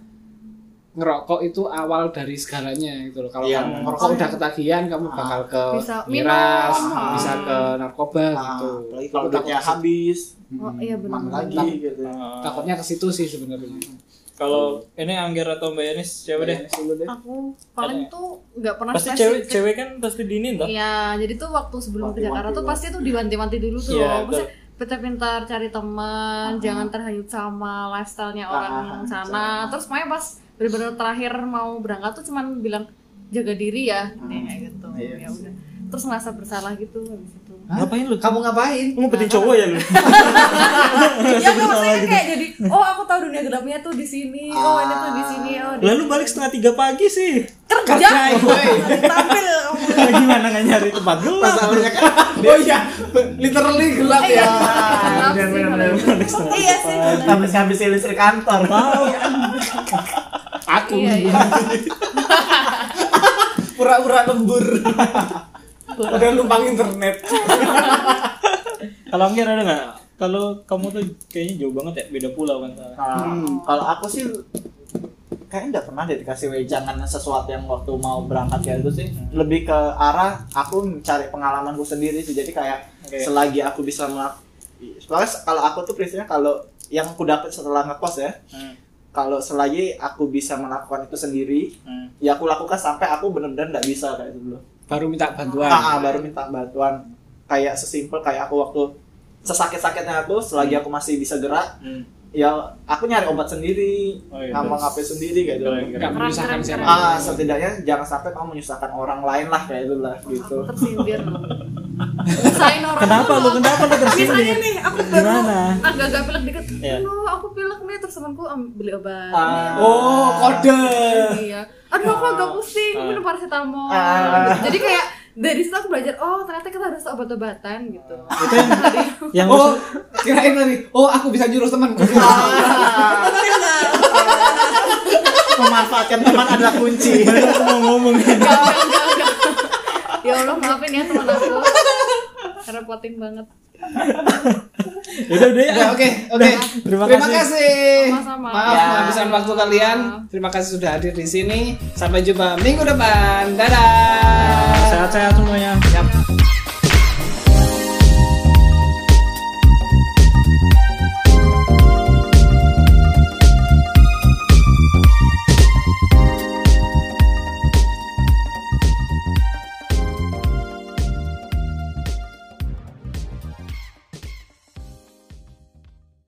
[SPEAKER 3] ngerokok itu awal dari segalanya gitu loh kalau
[SPEAKER 4] Iya.
[SPEAKER 3] kamu ngerokok udah ketagihan kamu
[SPEAKER 4] Ah.
[SPEAKER 3] bakal ke
[SPEAKER 2] Bisa
[SPEAKER 3] miras
[SPEAKER 2] minum. Ah.
[SPEAKER 3] bisa ke narkoba
[SPEAKER 4] nah,
[SPEAKER 3] gitu
[SPEAKER 4] apalagi kalau
[SPEAKER 3] Aku
[SPEAKER 4] duitnya
[SPEAKER 3] takut-
[SPEAKER 4] habis
[SPEAKER 2] oh iya
[SPEAKER 4] makan
[SPEAKER 2] benar
[SPEAKER 4] lagi gitu
[SPEAKER 1] Eh,
[SPEAKER 3] takutnya ke situ sih sebenarnya Iya,
[SPEAKER 1] kalau ini Angger atau Mbak Yanis siapa deh
[SPEAKER 4] Bayangin dulu deh.
[SPEAKER 2] aku paling tuh nggak pernah
[SPEAKER 1] pasti
[SPEAKER 2] spesifik.
[SPEAKER 1] cewek cewek kan pasti dinin toh
[SPEAKER 2] Iya, jadi tuh waktu sebelum ke Jakarta
[SPEAKER 4] Wanti-wanti
[SPEAKER 2] tuh
[SPEAKER 4] lah.
[SPEAKER 2] pasti tuh diwanti-wanti dulu tuh.
[SPEAKER 1] Iya,
[SPEAKER 2] Maksudnya pintar-pintar cari teman, jangan terhanyut sama lifestyle-nya orang
[SPEAKER 4] Ah,
[SPEAKER 2] sana. Terus makanya pas bener-bener terakhir mau berangkat tuh cuman bilang jaga diri ya, kayak gitu. Ya
[SPEAKER 4] Iya.
[SPEAKER 2] udah. Terus ngerasa bersalah gitu habis itu.
[SPEAKER 1] ngapain lu
[SPEAKER 5] Kamu ngapain?
[SPEAKER 1] ngumpetin cowok ya lu
[SPEAKER 2] ya nggak, maksudnya kayak jadi, oh aku tahu dunia gelapnya tuh di sini, oh ini tuh di sini, oh di
[SPEAKER 1] lalu balik setengah tiga pagi sih
[SPEAKER 2] kerja.
[SPEAKER 5] Tampil.
[SPEAKER 2] Iya.
[SPEAKER 1] gimana nggak nyari tempat gelap
[SPEAKER 4] masalahnya kan
[SPEAKER 3] oh iya literally gelap
[SPEAKER 2] Iya,
[SPEAKER 3] ya
[SPEAKER 2] Gelap sih, kalau itu. Iya sih. bener.
[SPEAKER 4] habis habisin listrik kantor
[SPEAKER 3] aku
[SPEAKER 2] Iya, iya.
[SPEAKER 3] pura-pura lembur udah numpang internet
[SPEAKER 1] kalau Angger ada nggak kalau kamu tuh kayaknya jauh banget ya beda pulau kan
[SPEAKER 4] Hmm, kalau aku sih kayaknya nggak pernah deh dikasih wejangan sesuatu yang waktu mau berangkat kayak itu sih lebih ke arah aku mencari pengalamanku sendiri sih jadi kayak
[SPEAKER 1] Oke.
[SPEAKER 4] selagi aku bisa melak soalnya se- kalau aku tuh prinsipnya kalau yang aku dapat setelah ngekos ya
[SPEAKER 1] Hmm,
[SPEAKER 4] kalau selagi aku bisa melakukan itu sendiri
[SPEAKER 1] hmm.
[SPEAKER 4] ya aku lakukan sampai aku benar-benar nggak bisa kayak dulu
[SPEAKER 3] baru minta bantuan
[SPEAKER 4] Ah, ah, baru minta bantuan kayak sesimpel kayak aku waktu sesakit-sakitnya aku selagi aku masih bisa gerak
[SPEAKER 1] Hmm.
[SPEAKER 4] ya aku nyari obat sendiri
[SPEAKER 1] Oh, iya.
[SPEAKER 4] ngapa ngapain sendiri kayak gitu
[SPEAKER 1] Keren, keren.
[SPEAKER 3] nggak menyusahkan
[SPEAKER 2] Keren,
[SPEAKER 3] siapa
[SPEAKER 2] keren,
[SPEAKER 4] ah setidaknya jangan sampai kamu menyusahkan orang lain lah kayak gitu lah gitu
[SPEAKER 2] Tersindir loh. Desain orang
[SPEAKER 6] Kenapa
[SPEAKER 2] tuh
[SPEAKER 6] lu? Kenapa lu tersinggung?
[SPEAKER 2] Misalnya nih, aku baru
[SPEAKER 6] Gimana?
[SPEAKER 2] agak-agak pilek dikit.
[SPEAKER 1] Iya.
[SPEAKER 2] Aduh, aku pilek nih terus temanku am- beli obat.
[SPEAKER 4] Ah.
[SPEAKER 3] Oh, kode.
[SPEAKER 2] Iya. Aduh, aku agak pusing, aku minum paracetamol.
[SPEAKER 4] Ah.
[SPEAKER 2] Jadi kayak dari situ aku belajar, oh ternyata kita harus obat-obatan gitu.
[SPEAKER 6] Itu yang yang
[SPEAKER 3] Oh, kirain tadi. Oh, aku bisa nyuruh temanku.
[SPEAKER 4] memanfaatkan teman adalah kunci
[SPEAKER 6] mau ngomong kan.
[SPEAKER 2] Enggak, enggak, enggak, enggak. Ya Allah, maafin ya teman aku. Repotin banget.
[SPEAKER 6] Yaudah udah ya.
[SPEAKER 1] Iya,
[SPEAKER 3] Ya, Oke, oke.
[SPEAKER 6] Terima
[SPEAKER 3] Terima
[SPEAKER 6] kasih.
[SPEAKER 3] kasih.
[SPEAKER 2] Sama-sama.
[SPEAKER 3] Eh, Maaf
[SPEAKER 2] Ya.
[SPEAKER 3] menghabiskan waktu kalian. Terima kasih sudah hadir di sini. Sampai jumpa minggu depan. Dadah.
[SPEAKER 6] Sehat-sehat semuanya.
[SPEAKER 3] Siap.